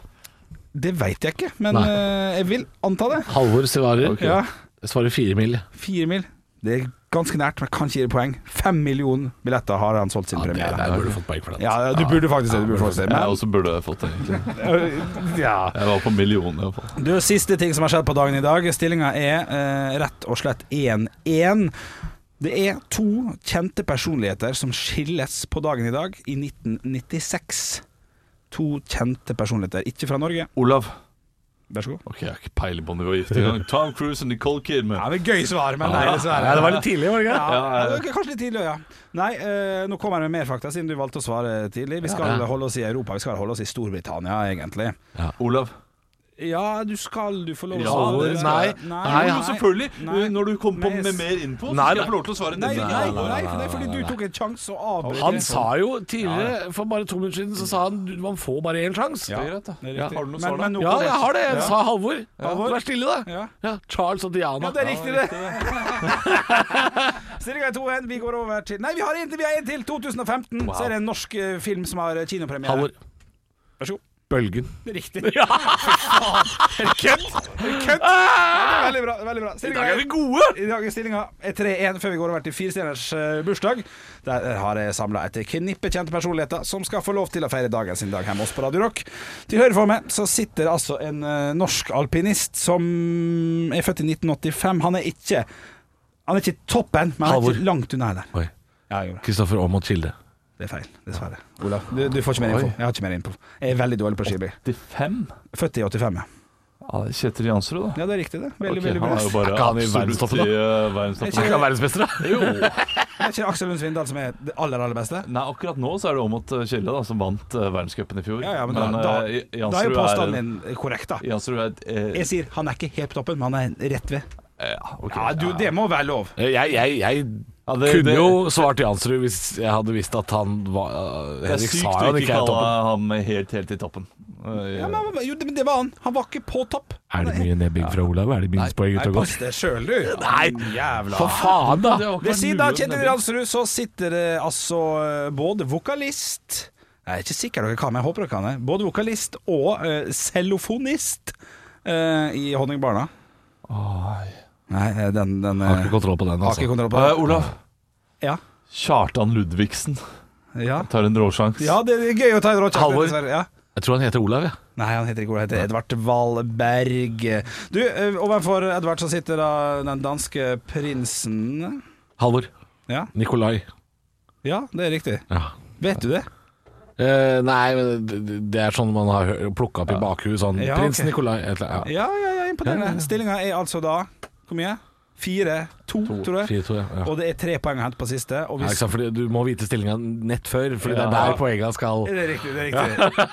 [SPEAKER 6] Det veit jeg ikke, men
[SPEAKER 5] Nei.
[SPEAKER 6] eh, jeg vil anta det.
[SPEAKER 5] Halvor svarer.
[SPEAKER 3] Ok.
[SPEAKER 6] Ja,
[SPEAKER 5] Jeg svarer fire mil.
[SPEAKER 6] Fire mil. Det er ganske nært, men jeg kan ikke gi det poeng. Fem millioner billetter har han solgt sin
[SPEAKER 5] Ja, det,
[SPEAKER 6] premiere.
[SPEAKER 5] der burde du fått poeng for den.
[SPEAKER 6] Ja, du burde faktisk det. Du burde faktisk det.
[SPEAKER 3] Jeg
[SPEAKER 6] Men,
[SPEAKER 3] også burde jeg fått det, egentlig.
[SPEAKER 6] ja.
[SPEAKER 3] Jeg var på millionen, iallfall.
[SPEAKER 6] Du, Siste ting som har skjedd på dagen i dag. Stillinga er eh, rett og slett 1-1. Det er to kjente personligheter som skilles på dagen i dag, i 1996. To kjente personligheter, ikke fra Norge.
[SPEAKER 3] Olav.
[SPEAKER 6] Vær så god.
[SPEAKER 3] Ok, jeg har ikke peiling på om de var gift engang. Tom Cruise og Nicole Kidman.
[SPEAKER 6] Ja, det er Gøy svar, men nei, dessverre.
[SPEAKER 5] det var litt tidlig, var det ikke?
[SPEAKER 6] Ja, det var kanskje litt tidlig, ja. Nei, eh, nå kommer jeg med mer fakta, siden du valgte å svare tidlig. Vi skal
[SPEAKER 5] Ja.
[SPEAKER 6] holde oss i Europa, vi skal holde oss i Storbritannia, egentlig.
[SPEAKER 3] Olav.
[SPEAKER 6] Ja, du skal du få lov
[SPEAKER 5] Ja,
[SPEAKER 6] å svare.
[SPEAKER 5] det- nei. Nei,
[SPEAKER 3] Jo, selvfølgelig. Eh,
[SPEAKER 6] Nei.
[SPEAKER 3] Når du kommer på
[SPEAKER 6] Nei,
[SPEAKER 3] med mer info, så
[SPEAKER 5] Nei,
[SPEAKER 3] skal jeg få lov til å svare.
[SPEAKER 6] Nei,
[SPEAKER 3] denne.
[SPEAKER 6] nei, nei, nei, fordi du tok en sånn- sjanse og avbrøt.
[SPEAKER 5] Han sa jo tidligere, for bare to minutter siden, så sa han du, man får bare én sjanse.
[SPEAKER 6] Ja.
[SPEAKER 5] Ja.
[SPEAKER 3] Det er greit, da.
[SPEAKER 6] Det er
[SPEAKER 3] Ja,
[SPEAKER 6] riktig.
[SPEAKER 3] Har du noe
[SPEAKER 6] Men-
[SPEAKER 3] svar,
[SPEAKER 6] men
[SPEAKER 3] da?
[SPEAKER 6] nå-
[SPEAKER 5] jeg har det. Jeg sa Halvor.
[SPEAKER 6] Halvor.
[SPEAKER 5] Vær stille, da.
[SPEAKER 6] Ja.
[SPEAKER 5] Ja, Charles og Diana.
[SPEAKER 6] Ja, det er riktig, det. Stillinga er 2-1. Vi går over til Nei, vi har en til! Vi har en til! 2015. Så er det en norsk eh, film som har eh, kinopremiere.
[SPEAKER 5] Halvor.
[SPEAKER 6] Vær så god.
[SPEAKER 5] Bølgen.
[SPEAKER 6] Det er Riktig. Ja. Kødd! Kødd! Ja, det er Veldig bra. det er veldig bra Stillinga er
[SPEAKER 5] gode!
[SPEAKER 6] I dag er stillinga 3-1 før vi går over til firestjerners eh, bursdag. Der eh, har jeg samla et knippe kjente personligheter som skal få lov til å feire dagen sin dag hjemme hos på Radio Rock. Til høyre for meg så sitter altså en eh, norsk alpinist som er født i 1985. Han er ikke Han er ikke toppen, men han
[SPEAKER 5] Halvor.
[SPEAKER 6] er ikke langt unna heller.
[SPEAKER 5] Oi.
[SPEAKER 6] Ja, jeg gjorde det.
[SPEAKER 5] Kristoffer Aamodt Kilde.
[SPEAKER 6] Det er feil, dessverre. Olav, du, du får ikke mer info. Jeg har ikke mer info. Jeg er veldig dårlig på skiby.
[SPEAKER 3] 85?
[SPEAKER 6] Født i 85, ja.
[SPEAKER 3] Ja, det er Kjetil Jansrud, da.
[SPEAKER 6] Ja, det er riktig, det. Veldig,
[SPEAKER 3] Ok,
[SPEAKER 6] veldig
[SPEAKER 3] han
[SPEAKER 6] bra.
[SPEAKER 3] er jo
[SPEAKER 5] Er
[SPEAKER 3] bare
[SPEAKER 5] ikke han i
[SPEAKER 3] absolutt
[SPEAKER 5] verdenstoppen, da?
[SPEAKER 3] i eh,
[SPEAKER 6] Er
[SPEAKER 3] verdenstoppen.
[SPEAKER 6] ikke-
[SPEAKER 5] verdensmestere? Jo.
[SPEAKER 6] Er ikke Aksel Lund Svindal som er det aller, aller beste?
[SPEAKER 3] Nei, akkurat nå så er det Åmot Kjelle da, som vant uh, verdenscupen i fjor.
[SPEAKER 6] Ja, ja, men, da, da,
[SPEAKER 3] eh,
[SPEAKER 6] da er jo
[SPEAKER 3] Jansrud
[SPEAKER 6] påstanden
[SPEAKER 3] en-
[SPEAKER 6] min korrekt, da.
[SPEAKER 3] Jansrud er et eh,
[SPEAKER 6] Jeg sier han er ikke helt på toppen, men han er rett ved.
[SPEAKER 3] Ja, ok.
[SPEAKER 6] Ja, du, Det må være lov.
[SPEAKER 5] Jeg, jeg, jeg
[SPEAKER 3] Ja, det-
[SPEAKER 5] kunne
[SPEAKER 3] det-
[SPEAKER 5] jo svart Jansrud hvis jeg hadde visst at han var
[SPEAKER 3] Det er
[SPEAKER 5] Henrik
[SPEAKER 3] sykt
[SPEAKER 5] sa
[SPEAKER 3] å
[SPEAKER 5] jo han
[SPEAKER 3] ikke
[SPEAKER 5] ikke er
[SPEAKER 3] kalle
[SPEAKER 5] toppen.
[SPEAKER 3] ham helt, helt i toppen. Eh, Eh,
[SPEAKER 6] Ja, men, han var- jo, det, det var han. Han var ikke på topp.
[SPEAKER 5] Er det mye nebbing fra Olav? Er det minuspoeng ut
[SPEAKER 6] Nei,
[SPEAKER 5] og
[SPEAKER 6] pass
[SPEAKER 5] godt?
[SPEAKER 6] deg sjøl, du.
[SPEAKER 5] Nei.
[SPEAKER 6] Jævla
[SPEAKER 5] For faen, da!
[SPEAKER 6] Ved siden av Kjetil Jansrud så sitter det altså eh, både vokalist Jeg er ikke sikker dere kan, men jeg håper dere kan det. Både vokalist og eh, cellofonist eh, i Honningbarna. Nei, eh, den, den eh,
[SPEAKER 5] Har ikke kontroll på den,
[SPEAKER 6] har ikke
[SPEAKER 5] altså.
[SPEAKER 6] kontroll på
[SPEAKER 3] Eh, Olav.
[SPEAKER 6] Ja.
[SPEAKER 3] Kjartan Ludvigsen
[SPEAKER 6] Ja.
[SPEAKER 3] tar en råsjans.
[SPEAKER 6] ja, det er gøy å ta en råkjeft.
[SPEAKER 5] Halvor.
[SPEAKER 6] dessverre, Ja.
[SPEAKER 5] Jeg tror han heter Olav, jeg. Ja.
[SPEAKER 6] Nei, han heter ikke Ola, han heter Edvard Valberg. Du, eh, overfor Edvard så sitter da den danske prinsen
[SPEAKER 5] Halvor.
[SPEAKER 6] Ja.
[SPEAKER 5] Nikolai.
[SPEAKER 6] Ja, det er riktig.
[SPEAKER 5] Ja.
[SPEAKER 6] Vet du det?
[SPEAKER 5] Eh, nei, men det, det er sånn man har plukka opp i bakhuet. Sånn
[SPEAKER 6] Ja,
[SPEAKER 5] Prins
[SPEAKER 6] ok.
[SPEAKER 5] Nikolai et eller annet.
[SPEAKER 6] Ja, ja, ja, imponerende.
[SPEAKER 5] Ja, ja, ja.
[SPEAKER 6] Stillinga er altså da Hvor mye? Fire, to, tror jeg.
[SPEAKER 5] Fire, to, ja. Ja.
[SPEAKER 6] Og det er tre poeng å hente på siste. Og
[SPEAKER 5] Ja,
[SPEAKER 6] vi
[SPEAKER 5] ikke sant? Fordi du må vite stillinga nett før, Fordi det er
[SPEAKER 3] Ja.
[SPEAKER 5] der poengene skal
[SPEAKER 6] det er riktig. det er riktig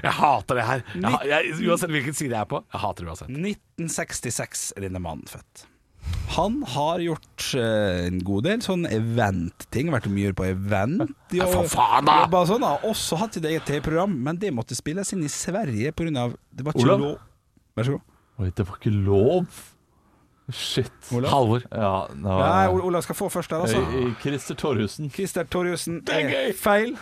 [SPEAKER 5] Jeg hater det her. Jeg, ha- jeg, uansett hvilken side jeg er på. Jeg hater det uansett.
[SPEAKER 6] 1966 er denne mannen født. Han har gjort eh, en god del sånn event-ting. Vært mye på event.
[SPEAKER 5] Ja, for faen, da!
[SPEAKER 6] Jobba Sånn, da. Også hatt sitt eget TV-program, men det måtte spilles inn i Sverige pga. Det var ikke
[SPEAKER 3] Olav?
[SPEAKER 6] lov Vær så god.
[SPEAKER 3] Oi, det var ikke lov! Shit.
[SPEAKER 5] Halvor.
[SPEAKER 3] Ja, nå,
[SPEAKER 5] Ah.
[SPEAKER 6] Nei, Ol- Olav skal få først der, altså.
[SPEAKER 3] Eh, Christer Torjussen.
[SPEAKER 6] Christer Torjussen
[SPEAKER 5] er
[SPEAKER 6] er
[SPEAKER 5] gøy.
[SPEAKER 6] feil.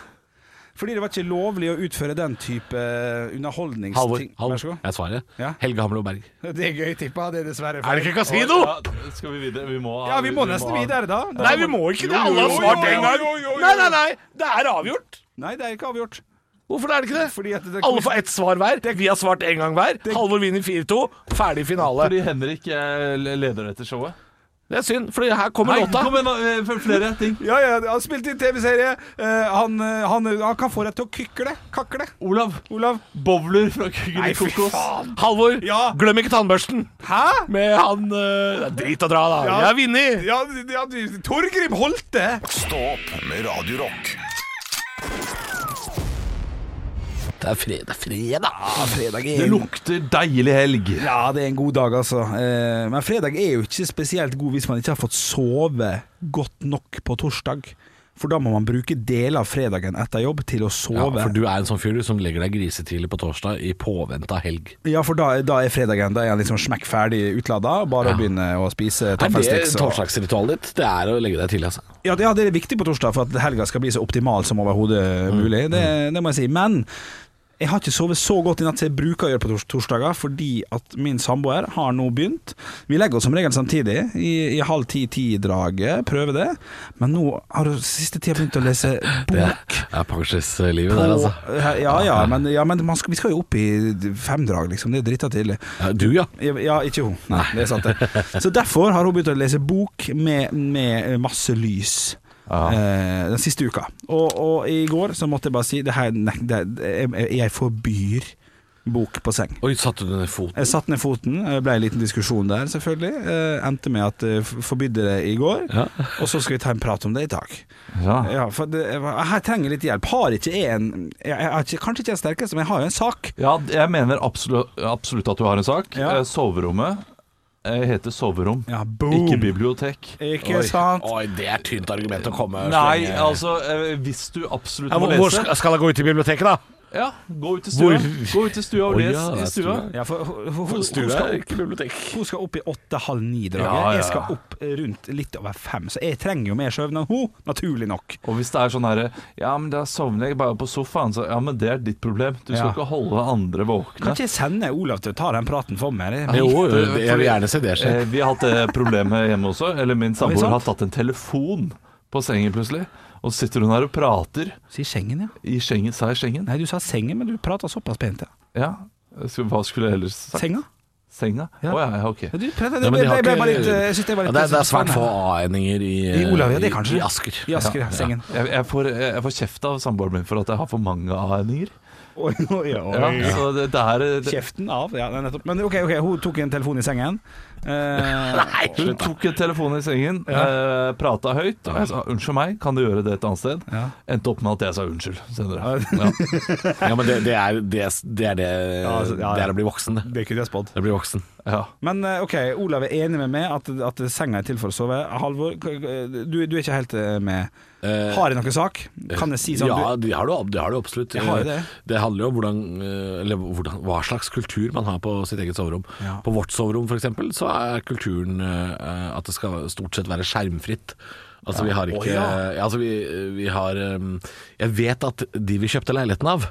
[SPEAKER 6] Fordi det var ikke lovlig å utføre den type eh,
[SPEAKER 5] Halvor.
[SPEAKER 6] underholdningsting. Vær så
[SPEAKER 5] Halvor.
[SPEAKER 6] god.
[SPEAKER 5] Jeg svarer.
[SPEAKER 6] Ja.
[SPEAKER 5] Helge Hamlo Berg.
[SPEAKER 6] Det er gøy tippa, det er dessverre
[SPEAKER 5] Er det ikke kasino?
[SPEAKER 3] Ja, skal vi videre? Vi må
[SPEAKER 6] Ja, vi må nesten
[SPEAKER 3] ha-
[SPEAKER 6] videre, da. da.
[SPEAKER 5] Nei, vi må ikke det. Alle har svart en gang. Nei, nei, nei. Det er avgjort.
[SPEAKER 6] Nei, det er ikke avgjort.
[SPEAKER 5] Hvorfor er det ikke det?
[SPEAKER 6] Fordi at det
[SPEAKER 5] Alle får ett svar hver. Vi har svart én gang hver. Halvor vinner 4-2. Ferdig finale.
[SPEAKER 3] Fordi Henrik eh, leder dette showet.
[SPEAKER 5] Det er synd, for her kommer låta.
[SPEAKER 3] kom igjen, da, eh, for flere ting.
[SPEAKER 6] Ja, ja, han spilte i en TV-serie. Eh, han, eh, han, han kan få deg til å kykle. Kakle.
[SPEAKER 3] Olav.
[SPEAKER 6] Olav.
[SPEAKER 3] Bowler fra Kugel i Kokos.
[SPEAKER 5] Halvor,
[SPEAKER 6] Ja.
[SPEAKER 5] glem ikke tannbørsten.
[SPEAKER 6] Hæ?
[SPEAKER 5] Med han eh, det er Drit å dra, da. Jeg har vunnet.
[SPEAKER 6] Ja, du- ja du- Torgrim Holte!
[SPEAKER 1] Stå opp med Radio Rock.
[SPEAKER 5] Det er fredag. fredag.
[SPEAKER 3] Det lukter deilig helg.
[SPEAKER 6] Ja, det er en god dag, altså. Eh, men fredag er jo ikke spesielt god hvis man ikke har fått sove godt nok på torsdag. For da må man bruke deler av fredagen etter jobb til å
[SPEAKER 5] Ja,
[SPEAKER 6] sove.
[SPEAKER 5] for du er en sånn fyr du som legger deg grisetidlig på torsdag i påvente av helg.
[SPEAKER 6] da, da er fredagen da er han liksom smekk ferdig utlada. Bare å begynne å spise
[SPEAKER 5] Er det
[SPEAKER 6] taffelsticks. og-
[SPEAKER 5] torsdagsritualet ditt? Det er å legge deg tidlig, altså.
[SPEAKER 6] Ja, det- ja, det er viktig på torsdag for at helga skal bli så optimal som overhodet mulig. Det, det må jeg si. Men jeg har ikke sovet så godt i natt som jeg bruker å gjøre på tors torsdager, fordi at min samboer har nå begynt. Vi legger oss som regel samtidig, i, i halv ti-ti-draget, prøver det. Men nå har hun siste tida begynt å lese bok.
[SPEAKER 5] Det er pensjonslivet der, altså.
[SPEAKER 6] på- ja, ja, men, ja, men man skal, vi skal jo opp i femdrag, liksom. Det er drita tidlig.
[SPEAKER 5] Ja, du, ja.
[SPEAKER 6] Ja, ja, ikke hun. Nei, det er sant det. Så derfor har hun begynt å lese bok med, med masse lys. Eh, den siste uka. Og, og i går så måtte jeg bare si det her, nei, det, jeg, jeg forbyr bok på seng.
[SPEAKER 5] Oi, satte du ned foten?
[SPEAKER 6] Jeg satte ned foten, eh, ble en liten diskusjon der selvfølgelig. Eh, endte med at jeg f- forbydde det i går,
[SPEAKER 5] Ja.
[SPEAKER 6] og så skal vi ta en prat om det i dag.
[SPEAKER 3] Ja.
[SPEAKER 6] Ja, for det, her trenger jeg litt hjelp. Har ikke jeg en jeg, jeg, har ikke- Kanskje ikke den sterkeste, men jeg har jo en sak.
[SPEAKER 3] ja, jeg mener absolutt, absolutt at du har en sak.
[SPEAKER 6] Ja.
[SPEAKER 3] Eh, Soverommet eh, heter soverom,
[SPEAKER 6] Ja, boom.
[SPEAKER 3] ikke bibliotek.
[SPEAKER 6] Ikke sant?
[SPEAKER 5] Oi, det er tynt argument å komme
[SPEAKER 3] Nei, altså, eh, hvis du absolutt
[SPEAKER 5] ja,
[SPEAKER 3] må
[SPEAKER 5] hvor, hvor skal,
[SPEAKER 3] lese
[SPEAKER 5] skal jeg gå ut i biblioteket, da?
[SPEAKER 3] Ja, gå ut i stua.
[SPEAKER 5] Hvor-
[SPEAKER 3] Gå ut i stua og
[SPEAKER 5] Å,
[SPEAKER 3] les
[SPEAKER 5] ja, det
[SPEAKER 3] i
[SPEAKER 5] er
[SPEAKER 3] stua.
[SPEAKER 5] stua.
[SPEAKER 6] Ja, for, for, for, hun-
[SPEAKER 5] Stue
[SPEAKER 6] hun skal
[SPEAKER 5] er ikke bibliotek.
[SPEAKER 6] Hun skal opp i åtte-halv ni-draget.
[SPEAKER 3] Ja, ja.
[SPEAKER 6] Jeg skal opp rundt litt over fem, så jeg trenger jo mer søvn enn hun, naturlig nok.
[SPEAKER 3] Og hvis det er sånn herre Ja, men da sovner jeg bare på sofaen, så Ja, men det er ditt problem. Du skal
[SPEAKER 6] Ja.
[SPEAKER 3] ikke holde andre våkne.
[SPEAKER 6] Kan ikke jeg sende Olav til å ta den praten for meg? Det-
[SPEAKER 5] Jo,
[SPEAKER 3] det-
[SPEAKER 5] jeg vil gjerne se det skje.
[SPEAKER 3] Eh, vi har hatt det problemet hjemme også. Eller min samboer
[SPEAKER 6] sant?
[SPEAKER 3] har tatt en telefon på sengen plutselig. Og så sitter hun her og prater.
[SPEAKER 6] Si sengen, ja.
[SPEAKER 3] I Schengen, sa jeg Schengen?
[SPEAKER 6] Nei, du sa sengen, men du prata såpass pent, ja.
[SPEAKER 3] Ja. Så Hva skulle jeg ellers sagt?
[SPEAKER 6] Senga?
[SPEAKER 3] Senga? Å ja. ja, ok.
[SPEAKER 6] Ja, du prøvde,
[SPEAKER 5] Ja,
[SPEAKER 6] det,
[SPEAKER 5] men de
[SPEAKER 6] ble-
[SPEAKER 5] har
[SPEAKER 6] ble
[SPEAKER 5] ikke-
[SPEAKER 6] bare litt, eh, jeg synes det var
[SPEAKER 5] Ja,
[SPEAKER 6] litt
[SPEAKER 5] det, er, det er svært få a-endinger i, eh,
[SPEAKER 6] I Olav, ja, det
[SPEAKER 5] i-
[SPEAKER 6] kanskje.
[SPEAKER 5] I Asker.
[SPEAKER 6] I Asker, ja. Sengen.
[SPEAKER 3] Jeg, jeg får, jeg får kjeft av samboeren min for at jeg har for mange a-endinger.
[SPEAKER 6] Oi, oi, oi.
[SPEAKER 3] Ja, så det, det er det,
[SPEAKER 6] Kjeften av, ja, det er nettopp. Men OK, ok, hun tok en telefon i sengen. Eh,
[SPEAKER 5] Nei,
[SPEAKER 3] Hun tok telefonen i sengen, eh, prata høyt, og jeg sa 'unnskyld meg, kan du gjøre det et annet sted?'
[SPEAKER 6] Ja.
[SPEAKER 3] Endte opp med at jeg sa unnskyld senere. Ja.
[SPEAKER 5] Ja, men det, det er det, det, er det,
[SPEAKER 6] altså, ja, ja.
[SPEAKER 5] det er å bli voksen, det.
[SPEAKER 6] det kunne jeg spådd.
[SPEAKER 5] Det blir voksen.
[SPEAKER 3] Ja.
[SPEAKER 6] Men eh, OK, Olav er enig med meg at, at senga er til for å sove. Halvor, k- k- du, du er ikke helt eh, med.
[SPEAKER 5] Eh,
[SPEAKER 6] Har jeg noen sak? Kan jeg si sånn?
[SPEAKER 5] Ja,
[SPEAKER 6] du,
[SPEAKER 5] det har du, ab- det har du absolutt.
[SPEAKER 6] Jeg har jo
[SPEAKER 5] Eh,
[SPEAKER 6] det.
[SPEAKER 5] det handler jo om hvordan, eh, eller hvordan, hva slags kultur man har på sitt eget soverom.
[SPEAKER 6] Ja.
[SPEAKER 5] På vårt soverom f.eks. så er kulturen eh, at det skal stort sett være skjermfritt. Altså Vi har ikke ja, altså, vi, vi har eh, Jeg vet at de vi kjøpte leiligheten av,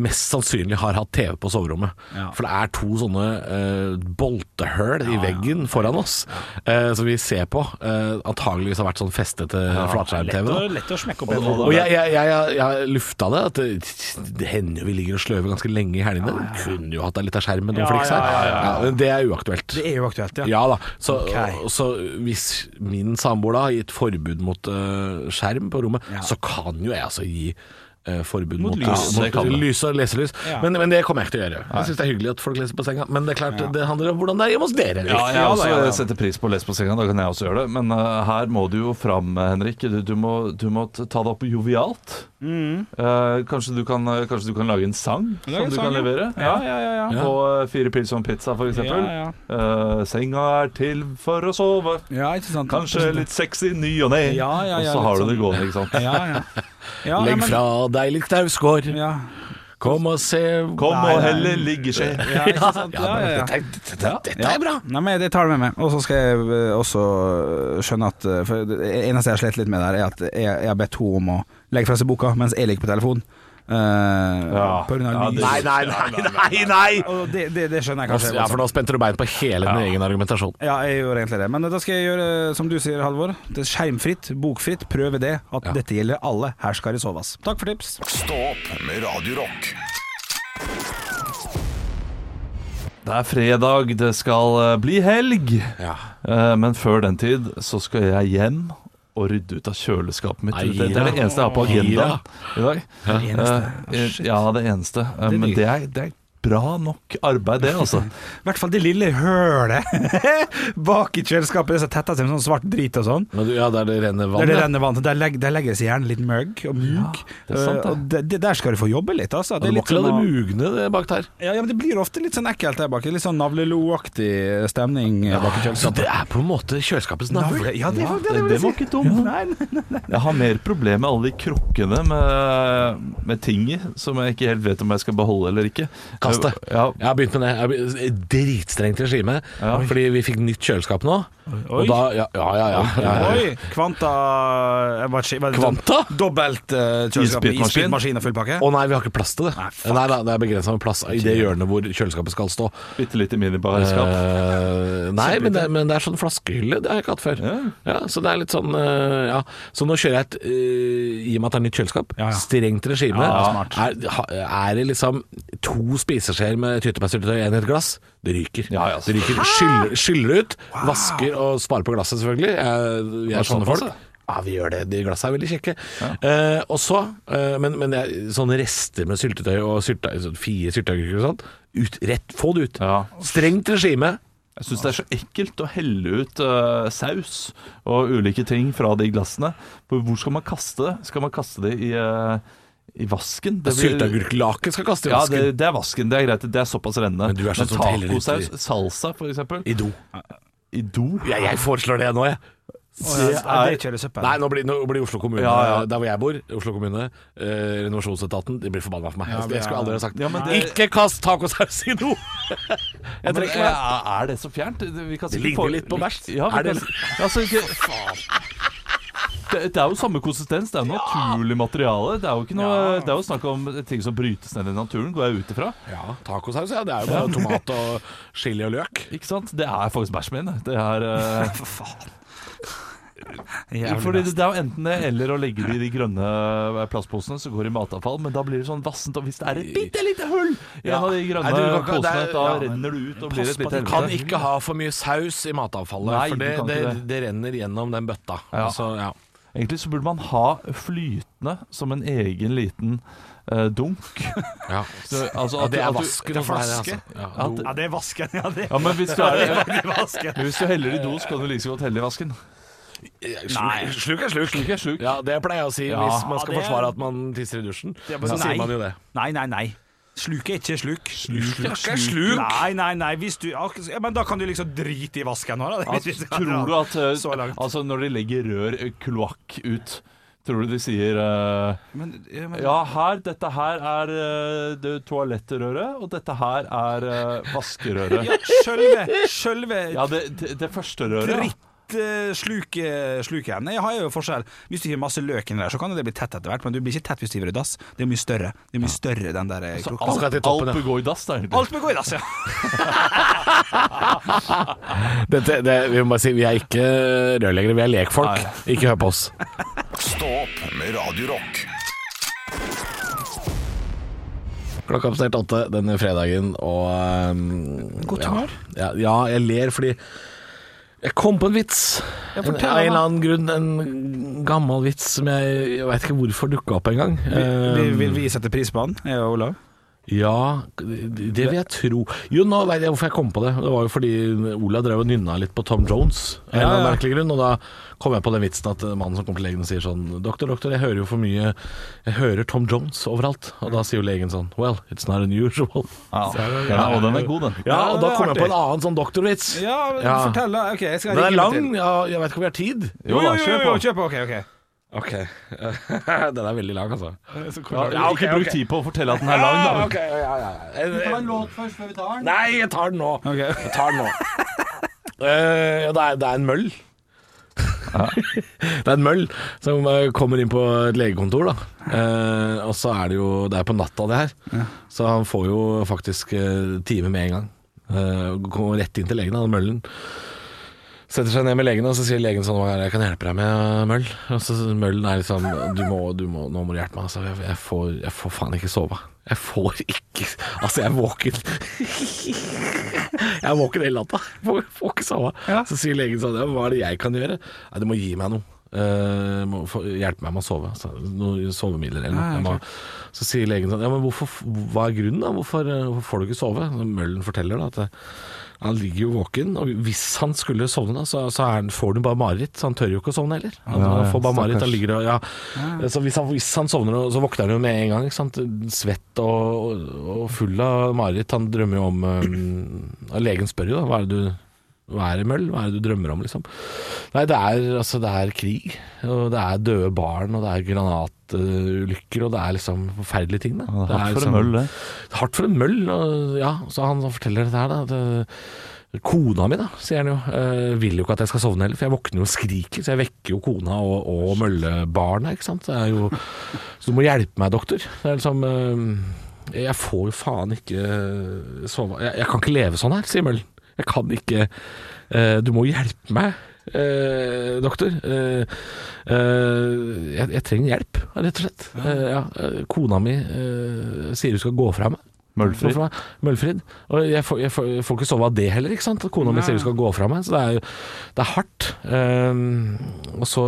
[SPEAKER 5] mest sannsynlig har hatt TV på soverommet.
[SPEAKER 6] Mm. Ja.
[SPEAKER 5] For det er to sånne eh, boltehøl i veggen foran oss eh, som vi ser på. Uh, antageligvis har vært sånn festete
[SPEAKER 6] lett,
[SPEAKER 5] flatskjerm-TV.
[SPEAKER 6] å,
[SPEAKER 5] da.
[SPEAKER 6] lett å smekke opp en
[SPEAKER 3] og-
[SPEAKER 5] Og jeg, jeg, jeg, jeg, jeg lufta det. At det, det hender jo vi ligger og sløver ganske lenge i helgene. Du kunne jo hatt deg litt av skjermen og
[SPEAKER 6] Ja,
[SPEAKER 5] fliks her.
[SPEAKER 6] ja, ja, ja,
[SPEAKER 5] Ja, men det er uaktuelt.
[SPEAKER 6] Det er jo aktuelt, ja.
[SPEAKER 5] Ja da. Så,
[SPEAKER 6] Ok.
[SPEAKER 5] så hvis min samboer da har gitt forbud mot eh, skjerm på rommet,
[SPEAKER 6] Ja.
[SPEAKER 5] så kan jo jeg altså gi eh, forbud
[SPEAKER 6] Mot
[SPEAKER 5] mot,
[SPEAKER 6] lys,
[SPEAKER 5] mot
[SPEAKER 3] det kan du.
[SPEAKER 5] lys og leselys.
[SPEAKER 6] Ja.
[SPEAKER 5] Men, men det kommer jeg ikke til å gjøre. Jeg syns det er hyggelig at folk leser på senga, men det er klart det handler om hvordan det er hjemme hos dere.
[SPEAKER 3] Ja, jeg
[SPEAKER 6] Ja, da,
[SPEAKER 3] også
[SPEAKER 6] ja, ja.
[SPEAKER 3] altså, setter pris på å lese på senga, da kan jeg også gjøre det. Men eh, her må du jo fram, eh, Henrik. Du, du, må, du må t- ta det opp jovialt. Eh, kanskje, du kan, eh, kanskje du kan lage en sang som
[SPEAKER 6] Mm. Lage en
[SPEAKER 3] du
[SPEAKER 6] sang,
[SPEAKER 3] kan
[SPEAKER 6] ja.
[SPEAKER 3] levere? Ja, ja, ja, ja.
[SPEAKER 5] Ja.
[SPEAKER 3] På eh, Fire pils og en pizza, for eksempel.
[SPEAKER 6] Ja,
[SPEAKER 3] Eh, senga er til for å sove.
[SPEAKER 6] Ja, ikke sant?
[SPEAKER 3] Kanskje litt sexy ny og ne.
[SPEAKER 6] Ja, ja, ja,
[SPEAKER 3] og så
[SPEAKER 6] litt
[SPEAKER 3] har du
[SPEAKER 6] sånn.
[SPEAKER 3] det gående, ikke sant.
[SPEAKER 6] Ja, ja. ja
[SPEAKER 5] Legg
[SPEAKER 6] nei, men-
[SPEAKER 5] fra deg litt knausgård,
[SPEAKER 6] Ja.
[SPEAKER 5] kom og se
[SPEAKER 3] Kom
[SPEAKER 6] Nei,
[SPEAKER 3] og
[SPEAKER 6] nei.
[SPEAKER 3] helle liggeskje.
[SPEAKER 6] Ja, ikke sant?
[SPEAKER 5] Ja,
[SPEAKER 6] Ja, ja, ja.
[SPEAKER 5] men Dette, er- dette, dette er bra.
[SPEAKER 6] Nei, men Det tar det med meg. Og så skal jeg eh, også eh, skjønne at eh, For det eneste jeg har slitt litt med der, er at jeg, jeg har bedt henne om å legge fra seg boka mens jeg ligger på telefonen. Eh,
[SPEAKER 3] Ja.
[SPEAKER 6] På grunn av
[SPEAKER 3] Ja, det-
[SPEAKER 6] lys.
[SPEAKER 5] Nei, nei, nei, nei, nei.
[SPEAKER 6] Og det, det, det skjønner jeg kanskje.
[SPEAKER 5] Ja, for nå spente du bein på hele din egen argumentasjon.
[SPEAKER 6] Ja, jeg gjør egentlig det. Men eh, da skal jeg gjøre som du sier, Halvor. Det er skjermfritt, bokfritt. Prøve det. At dette gjelder alle. Her skal det soves. Takk for tips.
[SPEAKER 1] Stå opp med Radio Rock.
[SPEAKER 3] Det er fredag, det skal eh, bli helg. Eh, men før den tid så skal jeg hjem og rydde ut av kjøleskapet mitt.
[SPEAKER 5] Nei,
[SPEAKER 3] Det, det er det eneste jeg har på agendaen i dag. Eh, ja, det eneste. Eh,
[SPEAKER 6] Det er
[SPEAKER 3] men
[SPEAKER 6] mye.
[SPEAKER 3] det er, det er bra nok arbeid, det, altså.
[SPEAKER 6] I hvert fall det lille hølet bak i kjøleskapet. Det som tetter seg med sånn svart drit og sånn.
[SPEAKER 5] Men du, ja, der det renner vann.
[SPEAKER 6] Der det
[SPEAKER 5] ja.
[SPEAKER 6] renner vann. Der, legg, der legges gjerne litt mugg og mugg.
[SPEAKER 3] det er sant, det.
[SPEAKER 6] Eh, og det, det der skal du få jobbe litt, altså.
[SPEAKER 5] Du
[SPEAKER 6] er
[SPEAKER 5] må
[SPEAKER 6] litt
[SPEAKER 5] ikke la det
[SPEAKER 6] sånn-
[SPEAKER 5] mugne det bak der.
[SPEAKER 6] ja, ja, men det blir ofte litt sånn ekkelt der bak. Litt sånn navleloaktig stemning eh, bak i
[SPEAKER 5] Så
[SPEAKER 6] kjøleskapet.
[SPEAKER 5] det er på en måte kjøleskapets navle.
[SPEAKER 6] Navle, ja, det,
[SPEAKER 3] Ja,
[SPEAKER 6] det, det,
[SPEAKER 3] det, det var ikke dumt.
[SPEAKER 6] Nei, nei, nei.
[SPEAKER 3] Jeg har mer problemer med alle de krukkene med, med ting i, som jeg ikke helt vet om jeg skal beholde eller ikke. Eh,
[SPEAKER 5] Kast det.
[SPEAKER 3] Ja,
[SPEAKER 5] Jeg har begynt med det. Jeg har begynt- et Dritstrengt regime.
[SPEAKER 3] Ja.
[SPEAKER 5] Fordi vi fikk nytt kjøleskap nå. Og da Ja, ja, ja. ja, ja, ja.
[SPEAKER 6] Oi! Kvanta eh, hva skje- hva er det?
[SPEAKER 5] Kvanta?
[SPEAKER 6] Dobbelt eh, kjøleskap.
[SPEAKER 3] Isbitmaskin.
[SPEAKER 6] Isbitmaskin og full pakke.
[SPEAKER 5] Å nei, vi har ikke plass til det.
[SPEAKER 6] Nei,
[SPEAKER 5] Nei,
[SPEAKER 6] fuck.
[SPEAKER 5] da, det er begrensa med plass i det hjørnet hvor kjøleskapet skal stå.
[SPEAKER 3] Bitte litt i minibarskap.
[SPEAKER 5] Eh, nei, men det, men det er sånn flaskehylle. Det har jeg ikke hatt før. Ja. så det er litt sånn eh, Ja. Så nå kjører jeg et eh, I og med at det er nytt kjøleskap,
[SPEAKER 6] Ja, ja.
[SPEAKER 5] strengt regime.
[SPEAKER 6] Ja,
[SPEAKER 5] er, ha- er det liksom to spiseskjeer med tyttebærsyltetøy i et glass? Det ryker.
[SPEAKER 3] Ja, ja,
[SPEAKER 5] det ryker. Skyller, skyller ut, vasker og sparer på glasset, selvfølgelig. Jeg, vi er sånne
[SPEAKER 3] såpass,
[SPEAKER 5] folk.
[SPEAKER 3] ja.
[SPEAKER 5] Ja, vi gjør det. De glassene er veldig kjekke. Eh, og så, eh, men, men det er sånne rester med syltetøy og syltetøy, sånn fire syltetøyguker og sånt, ut, rett, få det ut.
[SPEAKER 3] Ja.
[SPEAKER 5] Strengt regime.
[SPEAKER 3] Jeg syns det er så ekkelt å helle ut eh, saus og ulike ting fra de glassene. For Hvor skal man kaste det? Skal man kaste det i, eh, i vasken? Det blir-
[SPEAKER 5] Sylteagurklake skal kaste i
[SPEAKER 3] Ja,
[SPEAKER 5] vasken.
[SPEAKER 3] det, det er vasken. Det er greit. Det er såpass rennende.
[SPEAKER 5] Men du er sånn som teller litt i-
[SPEAKER 3] tacosaus, salsa for eksempel,
[SPEAKER 5] I do.
[SPEAKER 3] i do
[SPEAKER 5] Ja, jeg foreslår det nå, jeg.
[SPEAKER 6] Nei, det er
[SPEAKER 3] er-
[SPEAKER 6] kjølesøppel.
[SPEAKER 5] Nei, nå blir, nå blir Oslo kommune
[SPEAKER 3] Ja, ja.
[SPEAKER 5] Der hvor jeg bor, Oslo kommune, eh, renovasjonsetaten, de blir forbanna for meg. jeg skulle aldri ha sagt
[SPEAKER 3] Ja, men det-
[SPEAKER 5] Ikke kast tacosaus i do!
[SPEAKER 3] Ja,
[SPEAKER 5] jeg
[SPEAKER 3] men,
[SPEAKER 5] trekker meg.
[SPEAKER 3] eh, Er det så fjernt? Vi kan sikkert
[SPEAKER 5] ligner
[SPEAKER 3] få-
[SPEAKER 5] litt på bæsj.
[SPEAKER 3] Ja, vi
[SPEAKER 5] Er det-
[SPEAKER 3] kan- altså, ikke... Det, det er jo samme konsistens. Det er jo naturlig materiale. Det er jo, ikke noe, det er jo snakk om ting som brytes ned i naturen, går jeg ut ifra.
[SPEAKER 5] Ja, tacosaus, ja. Det er jo bare tomat og chili og løk.
[SPEAKER 3] Ikke sant? Det er faktisk bæsjen min. Det er, eh,
[SPEAKER 6] For faen.
[SPEAKER 3] fordi det, det er jo enten det eller å legge det i de grønne eh, plastposene som går i matavfall, men da blir det sånn vassent. Og hvis det er et bitte lite hull i en av de grønne
[SPEAKER 5] Nei, du kan ikke- det
[SPEAKER 3] posene,
[SPEAKER 5] er-
[SPEAKER 3] da
[SPEAKER 5] ja, men-
[SPEAKER 3] renner det ut og blir
[SPEAKER 5] Pass
[SPEAKER 3] et
[SPEAKER 5] på at
[SPEAKER 3] lite
[SPEAKER 5] du kan
[SPEAKER 3] helvete.
[SPEAKER 5] ikke ha for mye saus i matavfallet,
[SPEAKER 3] Nei,
[SPEAKER 5] for
[SPEAKER 3] du
[SPEAKER 5] det,
[SPEAKER 3] kan
[SPEAKER 5] det,
[SPEAKER 3] ikke
[SPEAKER 5] det renner gjennom den bøtta.
[SPEAKER 3] Ja.
[SPEAKER 5] Altså, ja.
[SPEAKER 3] Egentlig så burde man ha flytende som en egen liten eh, dunk.
[SPEAKER 5] Ja.
[SPEAKER 3] Så, altså,
[SPEAKER 5] Ja,
[SPEAKER 3] at
[SPEAKER 5] det
[SPEAKER 3] du- at
[SPEAKER 5] er
[SPEAKER 3] du-
[SPEAKER 5] vasken.
[SPEAKER 3] det er
[SPEAKER 5] for meg,
[SPEAKER 3] vaske.
[SPEAKER 5] altså. Ja,
[SPEAKER 3] At-
[SPEAKER 5] do.
[SPEAKER 6] Ja, det er vasken. Ja, det
[SPEAKER 3] Ja, men hvis du, er,
[SPEAKER 6] er vasken.
[SPEAKER 3] hvis du heller i do, så kan du like så godt helle i vasken.
[SPEAKER 5] Sluk, sluk er sluk.
[SPEAKER 3] Sluk er sluk.
[SPEAKER 5] Ja, det pleier jeg å si
[SPEAKER 3] Ja.
[SPEAKER 5] hvis man skal
[SPEAKER 6] Ja, det er-
[SPEAKER 5] forsvare at man tisser i dusjen.
[SPEAKER 6] er bare sånn
[SPEAKER 5] Så
[SPEAKER 6] nei.
[SPEAKER 5] sier man jo det.
[SPEAKER 6] Nei, nei, nei. Sluk er ikke sluk.
[SPEAKER 5] Sluk er ikke sluk.
[SPEAKER 6] Nei, nei, nei. Hvis du, ja, men da kan du liksom drite i vasken nå, da.
[SPEAKER 3] Altså, tror du at eh,
[SPEAKER 6] Så langt.
[SPEAKER 3] Altså, når de legger rør, eh, kloakk ut Tror du de sier eh,
[SPEAKER 6] men, ja, men,
[SPEAKER 3] Ja, her, dette her er eh, det toalettrøret, og dette her er eh, vaskerøret.
[SPEAKER 6] ja, Sjølve, sjølve
[SPEAKER 3] Ja, det, det, det første røret. ja.
[SPEAKER 6] drittslukeren. Jeg har jo forskjell. Hvis du hiver masse løk inni der, så kan jo det bli tett etter hvert, men du blir ikke tett hvis du hiver i dass. Det er mye større. Det er mye større, den der eh,
[SPEAKER 3] Så
[SPEAKER 6] kroken.
[SPEAKER 5] skal til
[SPEAKER 3] alt, alt
[SPEAKER 5] toppen, ja.
[SPEAKER 3] bør gå i dass, da, egentlig.
[SPEAKER 6] Alt må gå i dass, ja.
[SPEAKER 5] Dette, det, vi må bare si, vi er ikke rørleggere, vi er lekfolk. Ikke hør på oss.
[SPEAKER 1] Stå opp med Radio Rock.
[SPEAKER 5] Klokka er passert åtte denne fredagen, og ehm,
[SPEAKER 6] Godt
[SPEAKER 5] ja.
[SPEAKER 6] humør.
[SPEAKER 5] Ja, ja, jeg ler fordi jeg kom på en vits. En, av en eller annen grunn, en gammel vits som jeg, jeg veit ikke hvorfor dukka opp engang. Ehm,
[SPEAKER 6] Vi, vi, vi setter pris på han, jeg og Olav.
[SPEAKER 5] Ja, det det vil jeg tro. Jo, nå vet jeg hvorfor jeg kom på det. Det var jo fordi Ola drev og nynna litt på Tom Jones. Av en eller annen merkelig grunn, og da kom jeg på den vitsen at mannen som kom til legen og sier sånn Doktor, doktor, jeg hører jo for mye Jeg hører Tom Jones overalt. Og da sier jo legen sånn Well, it's not unusual.
[SPEAKER 3] Ja, den er, og den er god, den.
[SPEAKER 5] Ja, og da
[SPEAKER 6] det er
[SPEAKER 5] kom jeg
[SPEAKER 6] artig.
[SPEAKER 5] på en annen sånn doktorvits.
[SPEAKER 6] Ja, men
[SPEAKER 5] Ja.
[SPEAKER 6] fortell da. Ok, jeg skal
[SPEAKER 5] Den er
[SPEAKER 6] ringe
[SPEAKER 5] lang,
[SPEAKER 6] til.
[SPEAKER 5] ja, jeg veit ikke om vi har tid.
[SPEAKER 3] Jo da, kjør på.
[SPEAKER 6] kjør på. Ok, ok.
[SPEAKER 5] Ok. den er veldig lang, altså.
[SPEAKER 3] Ja, ikke bruk tid på å fortelle at den er lang, da.
[SPEAKER 5] Ok, ja, ja, ja. Jeg-
[SPEAKER 7] Ta en låt først før vi tar den.
[SPEAKER 5] Nei, jeg tar den nå.
[SPEAKER 6] Ok.
[SPEAKER 5] Jeg tar den nå. Eh, ja, det, er, det er en møll. det er en møll som eh, kommer inn på et legekontor, da. Eh, og så er det jo Det er på natta, det her. Så han får jo faktisk eh, time med en gang. Eh, kommer rett inn til legen, da, den møllen. Setter seg ned med legen, og så sier legen sånn Hva er det jeg kan hjelpe deg med, eh, Møll? Og så Møllen er liksom Du må, du må Nå må du hjelpe meg, altså. Jeg, jeg, får, jeg får faen ikke sove. Jeg får ikke Altså, jeg er våken. jeg er våken hele natta. Jeg Får, får ikke sove. Så sier legen sånn ja, Hva er det jeg kan gjøre? Nei, du må gi meg noe. Eh, må få- hjelpe meg med å sove. Så, noen sovemidler eller noe. Jeg må, så sier legen sånn Ja, men hvorfor, hva er grunnen, da? Hvorfor, eh, hvorfor får du ikke sove? Møllen forteller da at det, han ligger jo våken, og hvis han skulle sovne, da, så, så er han, får han bare mareritt. Så han tør jo ikke å sovne heller. Han,
[SPEAKER 3] Ja,
[SPEAKER 5] han får bare mareritt, han
[SPEAKER 3] stakkars.
[SPEAKER 5] ligger og ja. Så hvis han, hvis han sovner, så våkner han jo med en gang. ikke Sant? Svett og, og, og full av mareritt. Han drømmer jo om eh, og Legen spør jo da, hva er det du hva er det, Møll? Hva er det du drømmer om, liksom? Nei, det er, altså, det er krig, og det er døde barn, og det er granatulykker, og det er liksom forferdelige ting, da.
[SPEAKER 3] Ja, det er hardt for en
[SPEAKER 5] liksom-
[SPEAKER 3] møll, det.
[SPEAKER 5] hardt for en møll. Og, ja, så han forteller dette her, da. Det, kona mi, da, sier han jo, eh, vil jo ikke at jeg skal sovne heller, for jeg våkner jo og skriker. Så jeg vekker jo kona og, og møllebarna, ikke sant. Det er jo, så du må hjelpe meg, doktor. Det er liksom eh, Jeg får jo faen ikke eh, sove jeg, jeg kan ikke leve sånn her, sier møllen. Jeg kan ikke eh, Du må hjelpe meg, eh, doktor. Eh, eh, jeg, jeg trenger hjelp, rett og slett. Eh, ja, eh, kona mi eh, sier hun skal gå fra meg.
[SPEAKER 3] Møllfri.
[SPEAKER 5] Hvorfor da? Møllfrid. Og jeg får, jeg, får, jeg får ikke sove av det heller, ikke sant. Kona mi sier hun skal gå fra meg, så det er, jo- det er hardt. Ehm, og så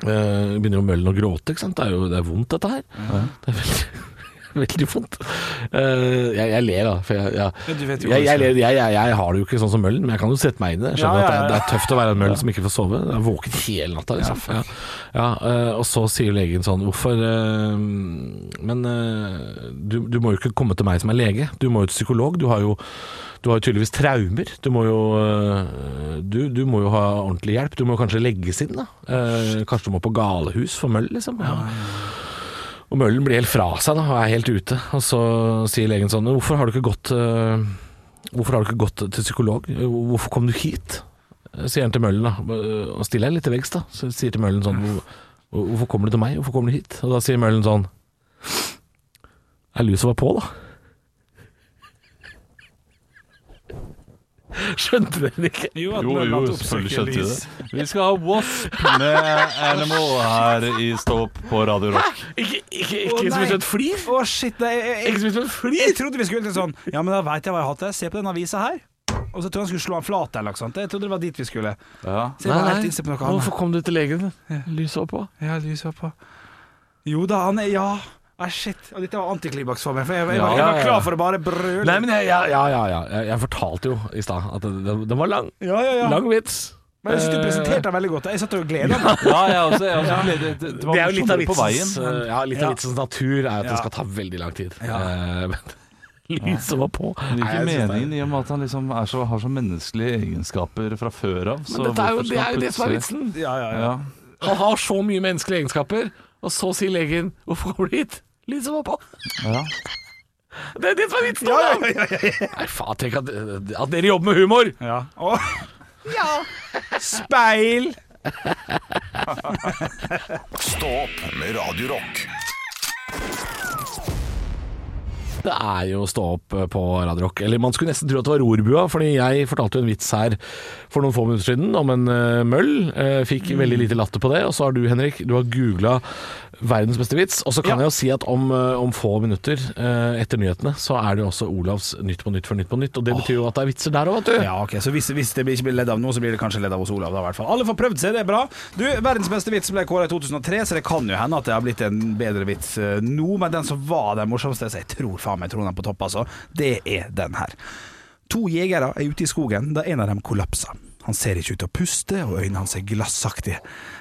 [SPEAKER 5] eh, begynner jo møllen å gråte, ikke sant. Det er jo det er vondt, dette her. Det er veldig, veldig vondt. Eh, jeg, jeg ler, da. For jeg, ja.
[SPEAKER 6] du vet jo
[SPEAKER 5] jeg,
[SPEAKER 6] hvordan
[SPEAKER 5] jeg, ler- jeg, jeg, jeg har det jo ikke sånn som møllen, men jeg kan jo sette meg inn i det. Jeg
[SPEAKER 6] Ja,
[SPEAKER 5] skjønner
[SPEAKER 6] ja,
[SPEAKER 5] at
[SPEAKER 6] ja.
[SPEAKER 5] det er, det er tøft å være en møll som ikke får sove. Jeg er våken hele natta, liksom. Ja, ja. eh, og så sier legen sånn Hvorfor eh, Men eh, du, du må jo ikke komme til meg som er lege. Du må jo til psykolog. Du har jo du har jo tydeligvis traumer. Du må jo, øh, du, du må jo ha ordentlig hjelp. Du må kanskje legges inn, da. Eh, Kanskje du må på galehus for møll, liksom. Ja. Og møllen blir helt fra seg da, og er helt ute. Og så sier legen sånn "Men Hvorfor har du ikke gått, øh, hvorfor har du ikke gått til psykolog? Hvorfor kom du hit? Sier han til møllen, da. Og stiller jeg litt til veggs, da. Så sier til møllen sånn "Hvor- Hvorfor kommer du til meg? Hvorfor kommer du hit? Og da sier møllen sånn Ja, luset var på, da. Skjønte dere det ikke?
[SPEAKER 6] Jo, at
[SPEAKER 3] Jo,
[SPEAKER 6] Møll
[SPEAKER 3] jo,
[SPEAKER 6] at
[SPEAKER 3] selvfølgelig
[SPEAKER 6] oppsøker
[SPEAKER 3] skjønte de
[SPEAKER 6] lys.
[SPEAKER 3] det. Vi skal ha Wasp med Animal her i Stå opp på Radio Rock.
[SPEAKER 5] Ikke,
[SPEAKER 6] Å,
[SPEAKER 5] ikke, ikke som
[SPEAKER 6] nei.
[SPEAKER 5] et sånt flir?
[SPEAKER 6] Å, shit. Nei, jeg, jeg,
[SPEAKER 5] Ikke som et sånt flir?
[SPEAKER 6] Jeg trodde vi skulle til sånn Ja, men da veit jeg hva jeg har hatt der. Se på denne avisa her. Og så trodde jeg han skulle slå han flat eller noe sånt. Jeg trodde det var dit vi skulle.
[SPEAKER 3] Ja.
[SPEAKER 6] Se, jeg var helt innstilt på noe annet.
[SPEAKER 5] Hvorfor kom du til legen? Lyset var på.
[SPEAKER 6] Ja, lyset var på. Jo da, han er Ja. Ah, shit. Og dette var antiklimaks for meg, for jeg, jeg, var, jeg
[SPEAKER 5] Ja, ja,
[SPEAKER 6] var
[SPEAKER 5] ja.
[SPEAKER 6] klar for å bare brøle.
[SPEAKER 5] Nei, men jeg, ja, ja, ja, ja. Jeg, jeg fortalte jo i stad at den- den den var lang.
[SPEAKER 6] ja, ja, ja.
[SPEAKER 5] Lang vits.
[SPEAKER 6] Men jeg synes du
[SPEAKER 3] Eh.
[SPEAKER 6] presenterte den veldig godt. Jeg satt og gleda meg.
[SPEAKER 3] Ja, jeg også. Jeg også ble, det, det, det var
[SPEAKER 5] Det er jo litt av
[SPEAKER 3] morsommere på
[SPEAKER 5] vitsens,
[SPEAKER 3] veien.
[SPEAKER 5] eh, ja, litt av
[SPEAKER 6] Ja.
[SPEAKER 5] vitsens natur er at
[SPEAKER 6] Ja.
[SPEAKER 5] det skal ta veldig lang tid. Eh, men lyset var på.
[SPEAKER 3] Det
[SPEAKER 5] Nei,
[SPEAKER 3] gir ikke
[SPEAKER 5] jeg synes det er-
[SPEAKER 3] mening i og med at han liksom er så, har så menneskelige egenskaper fra før av. Så
[SPEAKER 5] Men dette er
[SPEAKER 3] hvorfor
[SPEAKER 5] jo
[SPEAKER 3] skal
[SPEAKER 5] det, er jo det som er
[SPEAKER 3] plutselig-
[SPEAKER 5] vitsen.
[SPEAKER 6] Ja, ja, ja.
[SPEAKER 3] Ja.
[SPEAKER 5] Han har så mye menneskelige egenskaper, og så sier legen 'Hvorfor kommer du hit?' Lyset var på.
[SPEAKER 3] Ja.
[SPEAKER 5] Det er det som er vitsen! Olav! Nei, faen, tenk at, at dere jobber med humor!
[SPEAKER 6] ja. Og- Speil!
[SPEAKER 1] Stå opp med Radio Rock.
[SPEAKER 5] Det er jo å stå opp eh, på Radio Rock. Eller man skulle nesten tro at det var rorbua, fordi jeg fortalte jo en vits her for noen få minutter siden om en eh, møll. Eh,
[SPEAKER 6] Mm.
[SPEAKER 5] fikk veldig lite latter på det. Og så har du, Henrik, du har googla verdens beste vits. Og så kan jeg jo si at om, eh, om få minutter eh, etter nyhetene, så er det jo også Olavs Nytt på nytt for Nytt på nytt. Og det betyr jo at det er vitser der òg, vet du.
[SPEAKER 6] Ja, ok, så hvis, hvis det blir- ikke blir ledd av nå, så blir det kanskje ledd av hos Olav. Da, i hvert fall. Alle får prøvd seg, det er bra. Du, Verdens beste vits ble kåra i 2003, så det kan jo hende at det har blitt en bedre vits eh, nå. Men den som var den morsomste, så jeg tror faen meg jeg tror den er på topp, altså, det er den her. To jegere er ute i skogen da en av dem kollapser. Han ser ikke ut til å puste, og øynene hans er glassaktige.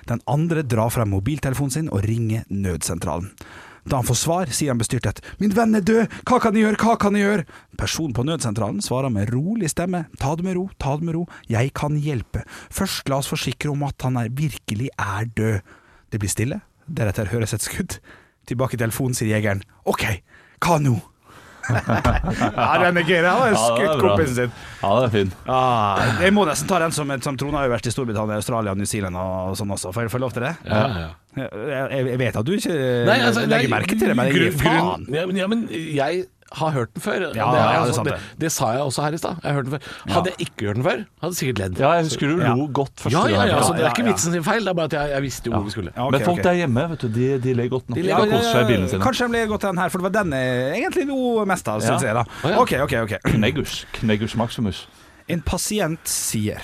[SPEAKER 6] Den andre drar frem mobiltelefonen sin og ringer nødsentralen. Da han får svar, sier han bestyrtet 'Min venn er død! Hva kan jeg gjøre? Hva kan jeg gjøre?' Personen på nødsentralen svarer med rolig stemme 'Ta det med ro, ta det med ro, jeg kan hjelpe. Først la oss forsikre om at han er, virkelig er død.' Det blir stille, deretter høres et skudd. Tilbake i telefonen sier jegeren 'Ok, hva nå?' ja, den er gøy. Han har
[SPEAKER 3] Ja, det er
[SPEAKER 6] skutt
[SPEAKER 3] bra.
[SPEAKER 6] kompisen sin.
[SPEAKER 3] ja, det er fint.
[SPEAKER 6] Ah, jeg må nesten ta den som, som Trond har jo vært i Storbritannia, Australia, New Zealand og sånn også. Får jeg får jeg lov til det?
[SPEAKER 5] Ja, ja.
[SPEAKER 6] Jeg, jeg, jeg vet at du ikke
[SPEAKER 5] Nei, altså, nei,
[SPEAKER 6] legger Eh, merke til det, men jeg gir
[SPEAKER 5] grunn-
[SPEAKER 6] faen.
[SPEAKER 5] grunn- Ja, men, ja, men jeg har hørt den før.
[SPEAKER 6] Ja,
[SPEAKER 5] det, har jeg
[SPEAKER 6] ja, det er
[SPEAKER 5] også-
[SPEAKER 6] sant det.
[SPEAKER 5] det, det sa jeg også her i stad. Jeg har hørt den før. Hadde jeg ikke hørt den før, hadde jeg sikkert ledd.
[SPEAKER 3] Ja, jeg husker du lo
[SPEAKER 6] Ja.
[SPEAKER 3] godt første
[SPEAKER 5] Ja, ja, ja, altså, det er
[SPEAKER 6] ja,
[SPEAKER 5] ikke
[SPEAKER 6] ja.
[SPEAKER 5] vitsen sin feil, det er bare at jeg, jeg visste jo hvor vi skulle.
[SPEAKER 6] Ja, ok,
[SPEAKER 3] Men folk
[SPEAKER 6] ok.
[SPEAKER 3] der hjemme, vet du, de, de ler godt nok.
[SPEAKER 5] De
[SPEAKER 3] De
[SPEAKER 5] ler
[SPEAKER 3] kan
[SPEAKER 5] godt.
[SPEAKER 3] kose seg i bilene sine.
[SPEAKER 6] Kanskje de ble godt den her, for det var den jeg egentlig lo mest av, syns
[SPEAKER 3] Ja.
[SPEAKER 6] jeg. da
[SPEAKER 5] Å, ja.
[SPEAKER 6] Ok, ok, ok
[SPEAKER 3] Kneggers. Kneggers maximus.
[SPEAKER 6] En pasient sier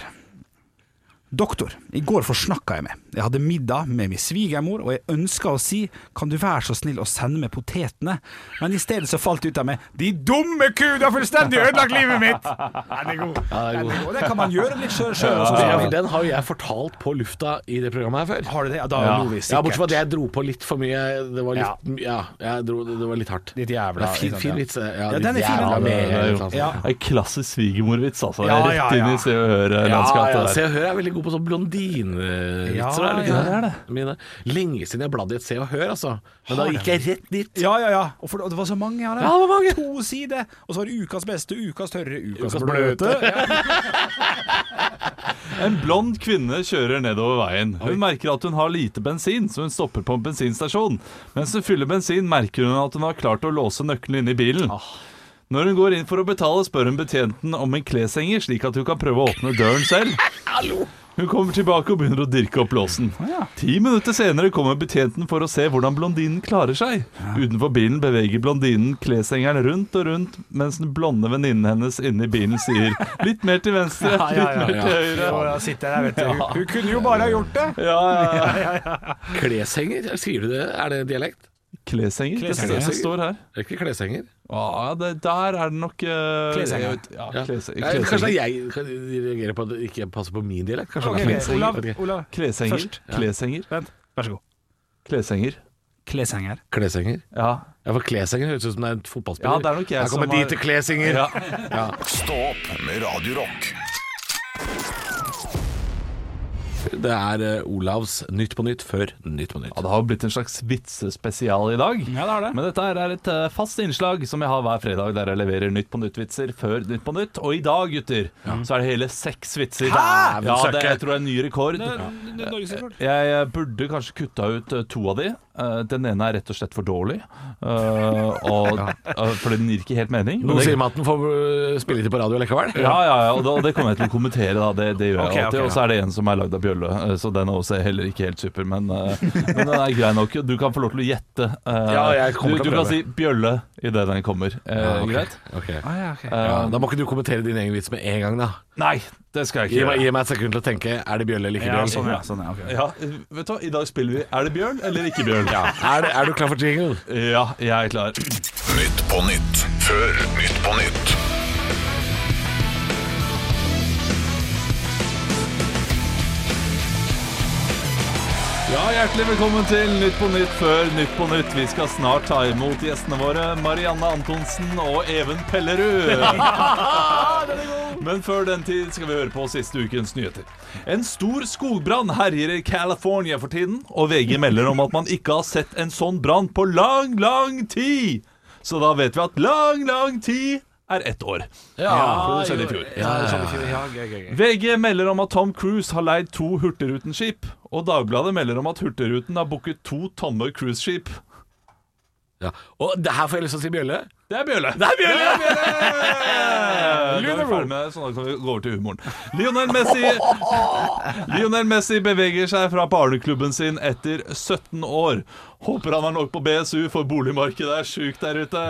[SPEAKER 6] Doktor, i går forsnakka jeg meg. Jeg hadde middag med min svigermor, og jeg ønska å si kan du være så snill å sende meg potetene, men i stedet så falt det ut av meg de dumme ku, du har fullstendig ødelagt livet mitt! Den er god. Den er god. Og det kan man gjøre litt sjøl.
[SPEAKER 5] Ja, for
[SPEAKER 6] Har
[SPEAKER 5] Altså, den har jo jeg fortalt på lufta i det programmet her før.
[SPEAKER 6] du det? Ja, da
[SPEAKER 3] Ja.
[SPEAKER 6] lo vi
[SPEAKER 5] Ja, Bortsett fra
[SPEAKER 6] sikkert.
[SPEAKER 5] at jeg dro på litt for mye. Det var litt, ja. jeg dro, det, det var litt hardt.
[SPEAKER 6] Litt jævla,
[SPEAKER 5] Det er
[SPEAKER 6] ikke
[SPEAKER 5] fin,
[SPEAKER 6] sant,
[SPEAKER 5] fin
[SPEAKER 6] ja.
[SPEAKER 5] vits. Ja,
[SPEAKER 6] Ja,
[SPEAKER 5] litt
[SPEAKER 6] den er fin,
[SPEAKER 5] jævla
[SPEAKER 6] den.
[SPEAKER 5] med,
[SPEAKER 6] Ja,
[SPEAKER 5] eller noe sånt.
[SPEAKER 6] ja.
[SPEAKER 3] En klassisk svigermorvits, altså.
[SPEAKER 6] Ja, ja,
[SPEAKER 3] Rett inn
[SPEAKER 6] ja.
[SPEAKER 3] i Se og Hør-landskapet
[SPEAKER 5] ja, ja, Se
[SPEAKER 3] der.
[SPEAKER 5] og Hør er veldig god på sånn blondinevitser.
[SPEAKER 6] Ja,
[SPEAKER 5] er det
[SPEAKER 6] ja,
[SPEAKER 5] ikke
[SPEAKER 6] det er
[SPEAKER 5] det? Mine. Lenge siden jeg bladde i et Se og Hør, altså. Men da
[SPEAKER 6] Har
[SPEAKER 5] gikk jeg rett dit.
[SPEAKER 6] Ja, ja, ja. Og, for, og det var så mange av dem.
[SPEAKER 5] Ja, det var mange.
[SPEAKER 6] To sider. Og så var det ukas beste, ukas tørre, ukas,
[SPEAKER 5] Ukas
[SPEAKER 6] bløte.
[SPEAKER 5] bløte.
[SPEAKER 6] Ja.
[SPEAKER 3] En blond kvinne kjører nedover veien. Hun merker at hun har lite bensin, så hun stopper på en bensinstasjon. Mens hun fyller bensin, merker hun at hun har klart å låse nøkkelen inne i bilen.
[SPEAKER 6] Ah.
[SPEAKER 3] Når hun går inn for å betale, spør hun betjenten om en kleshenger, slik at hun kan prøve å åpne døren selv. Hun kommer tilbake og begynner å dirke opp låsen. Ti minutter senere kommer betjenten for å se hvordan blondinen klarer seg. Utenfor bilen beveger blondinen kleshengeren rundt og rundt, mens den blonde venninnen hennes inne i bilen sier litt mer til venstre,
[SPEAKER 6] Ja, ja, ja,
[SPEAKER 3] litt mer
[SPEAKER 5] ja.
[SPEAKER 3] til høyre.
[SPEAKER 6] Og jeg sitter der, vet du. Hun, hun kunne jo bare ha gjort det.
[SPEAKER 3] Ja, ja, ja.
[SPEAKER 5] Kleshenger, skriver du det? Er det dialekt?
[SPEAKER 3] Kleshenger, det
[SPEAKER 6] Kleshenger.
[SPEAKER 3] står- det står her.
[SPEAKER 5] Er det ikke kleshenger?
[SPEAKER 3] Ja, det, der er det nok eh,
[SPEAKER 6] Kleshenger.
[SPEAKER 3] jeg vet- Ja,
[SPEAKER 5] Ja.
[SPEAKER 3] klese-
[SPEAKER 5] Ja, eller Kanskje det
[SPEAKER 3] kleshenger.
[SPEAKER 5] er jeg kan reagerer på at det ikke passer på min dialekt? Kanskje
[SPEAKER 6] Ok,
[SPEAKER 5] det er
[SPEAKER 6] ok,
[SPEAKER 5] kleshenger,
[SPEAKER 6] Olav,
[SPEAKER 5] vet ikke.
[SPEAKER 6] Olav,
[SPEAKER 3] Kleshenger.
[SPEAKER 6] Først.
[SPEAKER 3] Kleshenger.
[SPEAKER 6] vent. Vær så god.
[SPEAKER 3] Kleshenger.
[SPEAKER 6] Kleshenger.
[SPEAKER 5] Kleshenger?
[SPEAKER 3] Ja.
[SPEAKER 5] Ja, for kleshenger høres ut som det er en fotballspiller.
[SPEAKER 3] Ja, det er nok jeg
[SPEAKER 5] Her kommer
[SPEAKER 3] som har-
[SPEAKER 5] de til kleshenger.
[SPEAKER 3] ja.
[SPEAKER 1] Stå opp med Radio Rock.
[SPEAKER 5] Det er eh, Olavs Nytt på nytt før Nytt på nytt.
[SPEAKER 3] Ja, det har jo blitt en slags vitsespesial i dag.
[SPEAKER 6] Ja, det har det.
[SPEAKER 3] Men dette her er et eh, fast innslag som jeg har hver fredag, der jeg leverer Nytt på nytt-vitser før Nytt på nytt. Og i dag, gutter, så er det hele seks vitser.
[SPEAKER 5] Hæ?
[SPEAKER 3] Ja,
[SPEAKER 5] Søkke.
[SPEAKER 3] det jeg tror jeg er en ny rekord.
[SPEAKER 6] Norgesrekord.
[SPEAKER 3] Jeg eh, burde kanskje kutta ut eh, to av de. Eh, Den ene er rett og slett for dårlig, eh, og, eh, for den gir ikke helt mening.
[SPEAKER 5] Noen
[SPEAKER 3] Men det-
[SPEAKER 5] sier meg at den får eh, spille litt på radio likevel.
[SPEAKER 3] Ja, ja, ja, og det, og det kommer jeg til å kommentere, da. Det, det gjør jeg
[SPEAKER 6] Ok, ok,
[SPEAKER 3] alltid. Og så er det en som er lagd av bjølle, eh, så den er også heller ikke helt super, men, eh, men den er grei nok. Du kan få lov til å gjette. eh,
[SPEAKER 5] Ja, jeg kommer
[SPEAKER 3] du,
[SPEAKER 5] til å
[SPEAKER 3] du kan
[SPEAKER 5] prøve.
[SPEAKER 3] si 'bjølle' idet den kommer. Eh,
[SPEAKER 5] Ja, ok.
[SPEAKER 3] Greit?
[SPEAKER 5] Ok.
[SPEAKER 3] Eh,
[SPEAKER 5] Ja, da må ikke du kommentere din egen vits med en gang, da.
[SPEAKER 3] Nei, det skal jeg
[SPEAKER 5] Gi
[SPEAKER 3] ikke
[SPEAKER 5] meg,
[SPEAKER 3] gjøre.
[SPEAKER 5] gi meg et sekund til å tenke. Er det bjølle eller ikke
[SPEAKER 6] Ja,
[SPEAKER 5] bjølle?
[SPEAKER 6] sånn, ja. Sånn, ja, ok.
[SPEAKER 3] Ja, eh, vet du hva, I dag spiller vi 'Er det bjørn eller ikke bjørn'? Ja,
[SPEAKER 5] Er, det, er du klar for jingle?
[SPEAKER 3] jeg er klar.
[SPEAKER 1] Nytt på nytt før Nytt på nytt.
[SPEAKER 3] Ja, Hjertelig velkommen til Nytt på Nytt før Nytt på Nytt. Vi skal snart ta imot gjestene våre Marianne Antonsen og Even Pellerud. Men før den tid skal vi høre på siste ukens nyheter. En stor skogbrann herjer i California for tiden, og VG melder om at man ikke har sett en sånn brann på lang, lang tid. Så da vet vi at lang, lang tid er ett år. for det skjedde i fjor. VG melder om at Tom Cruise har leid to Hurtigruten-skip, og Dagbladet melder om at Hurtigruten har booket to tomme cruiseskip.
[SPEAKER 5] Ja. Og det her får jeg lyst til å si bjølle.
[SPEAKER 3] Det er Bjølle!
[SPEAKER 5] Det er bjølle!
[SPEAKER 3] Da er vi ferdig med det, så da kan vi gå over til humoren. Lionel Messi, Lionel Messi beveger seg fra barneklubben sin etter 17 år. Håper han har nok på BSU, for boligmarkedet er sjukt der ute.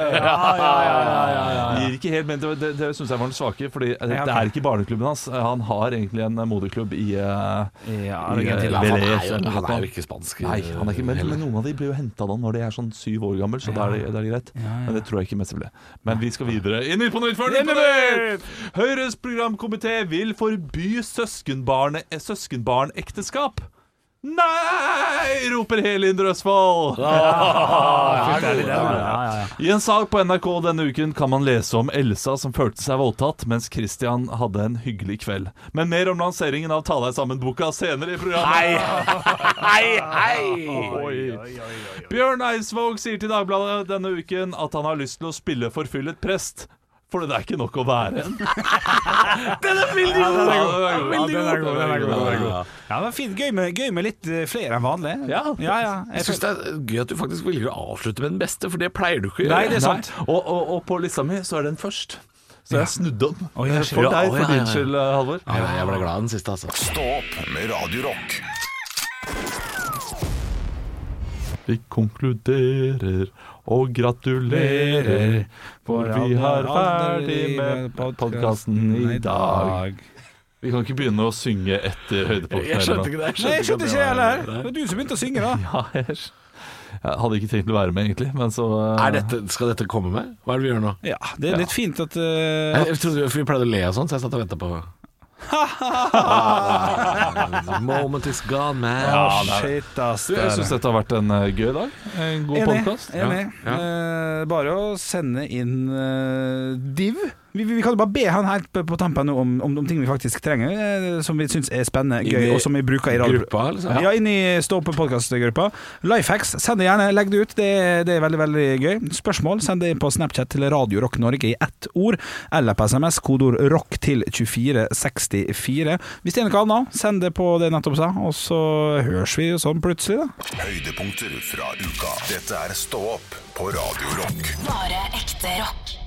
[SPEAKER 3] Gir ikke helt men Det, det, det syns jeg var den svake, Fordi det, det er ikke barneklubben hans. Han har egentlig en moderklubb i eh,
[SPEAKER 5] Ja, for Han er
[SPEAKER 3] Velez
[SPEAKER 5] jo-
[SPEAKER 3] eller noe
[SPEAKER 5] han
[SPEAKER 3] sånt.
[SPEAKER 5] er jo ikke spansk.
[SPEAKER 3] Nei, han er ikke, men,
[SPEAKER 5] heller.
[SPEAKER 3] men noen av de ble jo henta da når de er sånn syv år gammel, så da er det, da er det greit. Men det tror jeg ikke Messi ble. Men vi skal videre. I Nytt på Nytt før Nytt på Nytt! Høyres programkomité vil forby søskenbarne- eh, søskenbarnekteskap. Nei! roper hele Indre Østfold. I en sak på NRK denne uken kan man lese om Elsa som følte seg voldtatt mens Christian hadde en hyggelig kveld. Men mer om lanseringen av Ta deg sammen-boka senere i programmet. Oi. Bjørn Eidsvåg sier til Dagbladet denne uken at han har lyst til å spille forfyllet prest. For det er ikke nok å være en. den er veldig god! Ja,
[SPEAKER 6] den er god, den er god, den er god.
[SPEAKER 5] Ja.
[SPEAKER 6] Ja, det var fint. Gøy med, gøy med litt eh, flere enn vanlig.
[SPEAKER 3] Ja.
[SPEAKER 6] ja, ja.
[SPEAKER 5] Jeg syns det er gøy at du faktisk velger å avslutte med den beste, for det pleier du ikke å gjøre.
[SPEAKER 6] Nei, det er
[SPEAKER 3] Nei,
[SPEAKER 6] sant.
[SPEAKER 3] og, og, og på lista mi så er den først. Så jeg snudde om.
[SPEAKER 6] Oi, jeg
[SPEAKER 3] for deg,
[SPEAKER 6] skjønner.
[SPEAKER 5] Ja, ja,
[SPEAKER 3] for din
[SPEAKER 5] ja.
[SPEAKER 3] skyld, eh, Halvor.
[SPEAKER 5] Ja, jeg ble glad av den siste, altså.
[SPEAKER 1] Stå opp med Radio Rock.
[SPEAKER 3] Vi konkluderer og gratulerer, for vi er ferdig med podkasten i dag. Vi kan ikke begynne å synge etter høydepunktene.
[SPEAKER 5] Jeg
[SPEAKER 3] eller noe.
[SPEAKER 5] skjønte ikke det. Jeg
[SPEAKER 6] Nei, jeg skjønte ikke det heller.
[SPEAKER 5] det.
[SPEAKER 6] Det var du som begynte å synge, da.
[SPEAKER 3] Ja, jeg skj- jeg hadde ikke tenkt å være med, egentlig, men så
[SPEAKER 5] Er dette, skal dette komme med? Hva er det vi gjør nå?
[SPEAKER 6] Ja, det er litt fint at eh,
[SPEAKER 5] Jeg, jeg trodde for Vi pleide å le og sånn, så jeg satt og venta på Ah, The moment is gone, man.
[SPEAKER 6] Shit, ass.
[SPEAKER 3] Du, jeg syns dette har vært en eh, gøy dag. En god podkast.
[SPEAKER 6] Enig. Eh, bare å sende inn eh, div. Vi, vi vi kan jo bare be han helt på, på tampen nå om, om, om ting vi faktisk trenger, eh, som vi syns er spennende,
[SPEAKER 5] Inn i
[SPEAKER 6] gøy, og som vi bruker i radio.
[SPEAKER 5] Gruppa, liksom.
[SPEAKER 6] Ja, ja inn i Stå opp podkast-gruppa. Lifehacks, send det gjerne. Legg det ut. Det, er- det er veldig veldig gøy. Spørsmål, send det inn på Snapchat til Radio Rock Norge i ett ord, eller på SMS, kodeord 'rock' til 2464. Hvis det er noe annet, send det på det jeg nettopp sa, og så høres vi jo sånn plutselig, da.
[SPEAKER 1] Høydepunkter fra uka. Dette er Stå opp på Radio Rock.
[SPEAKER 2] Bare ekte rock.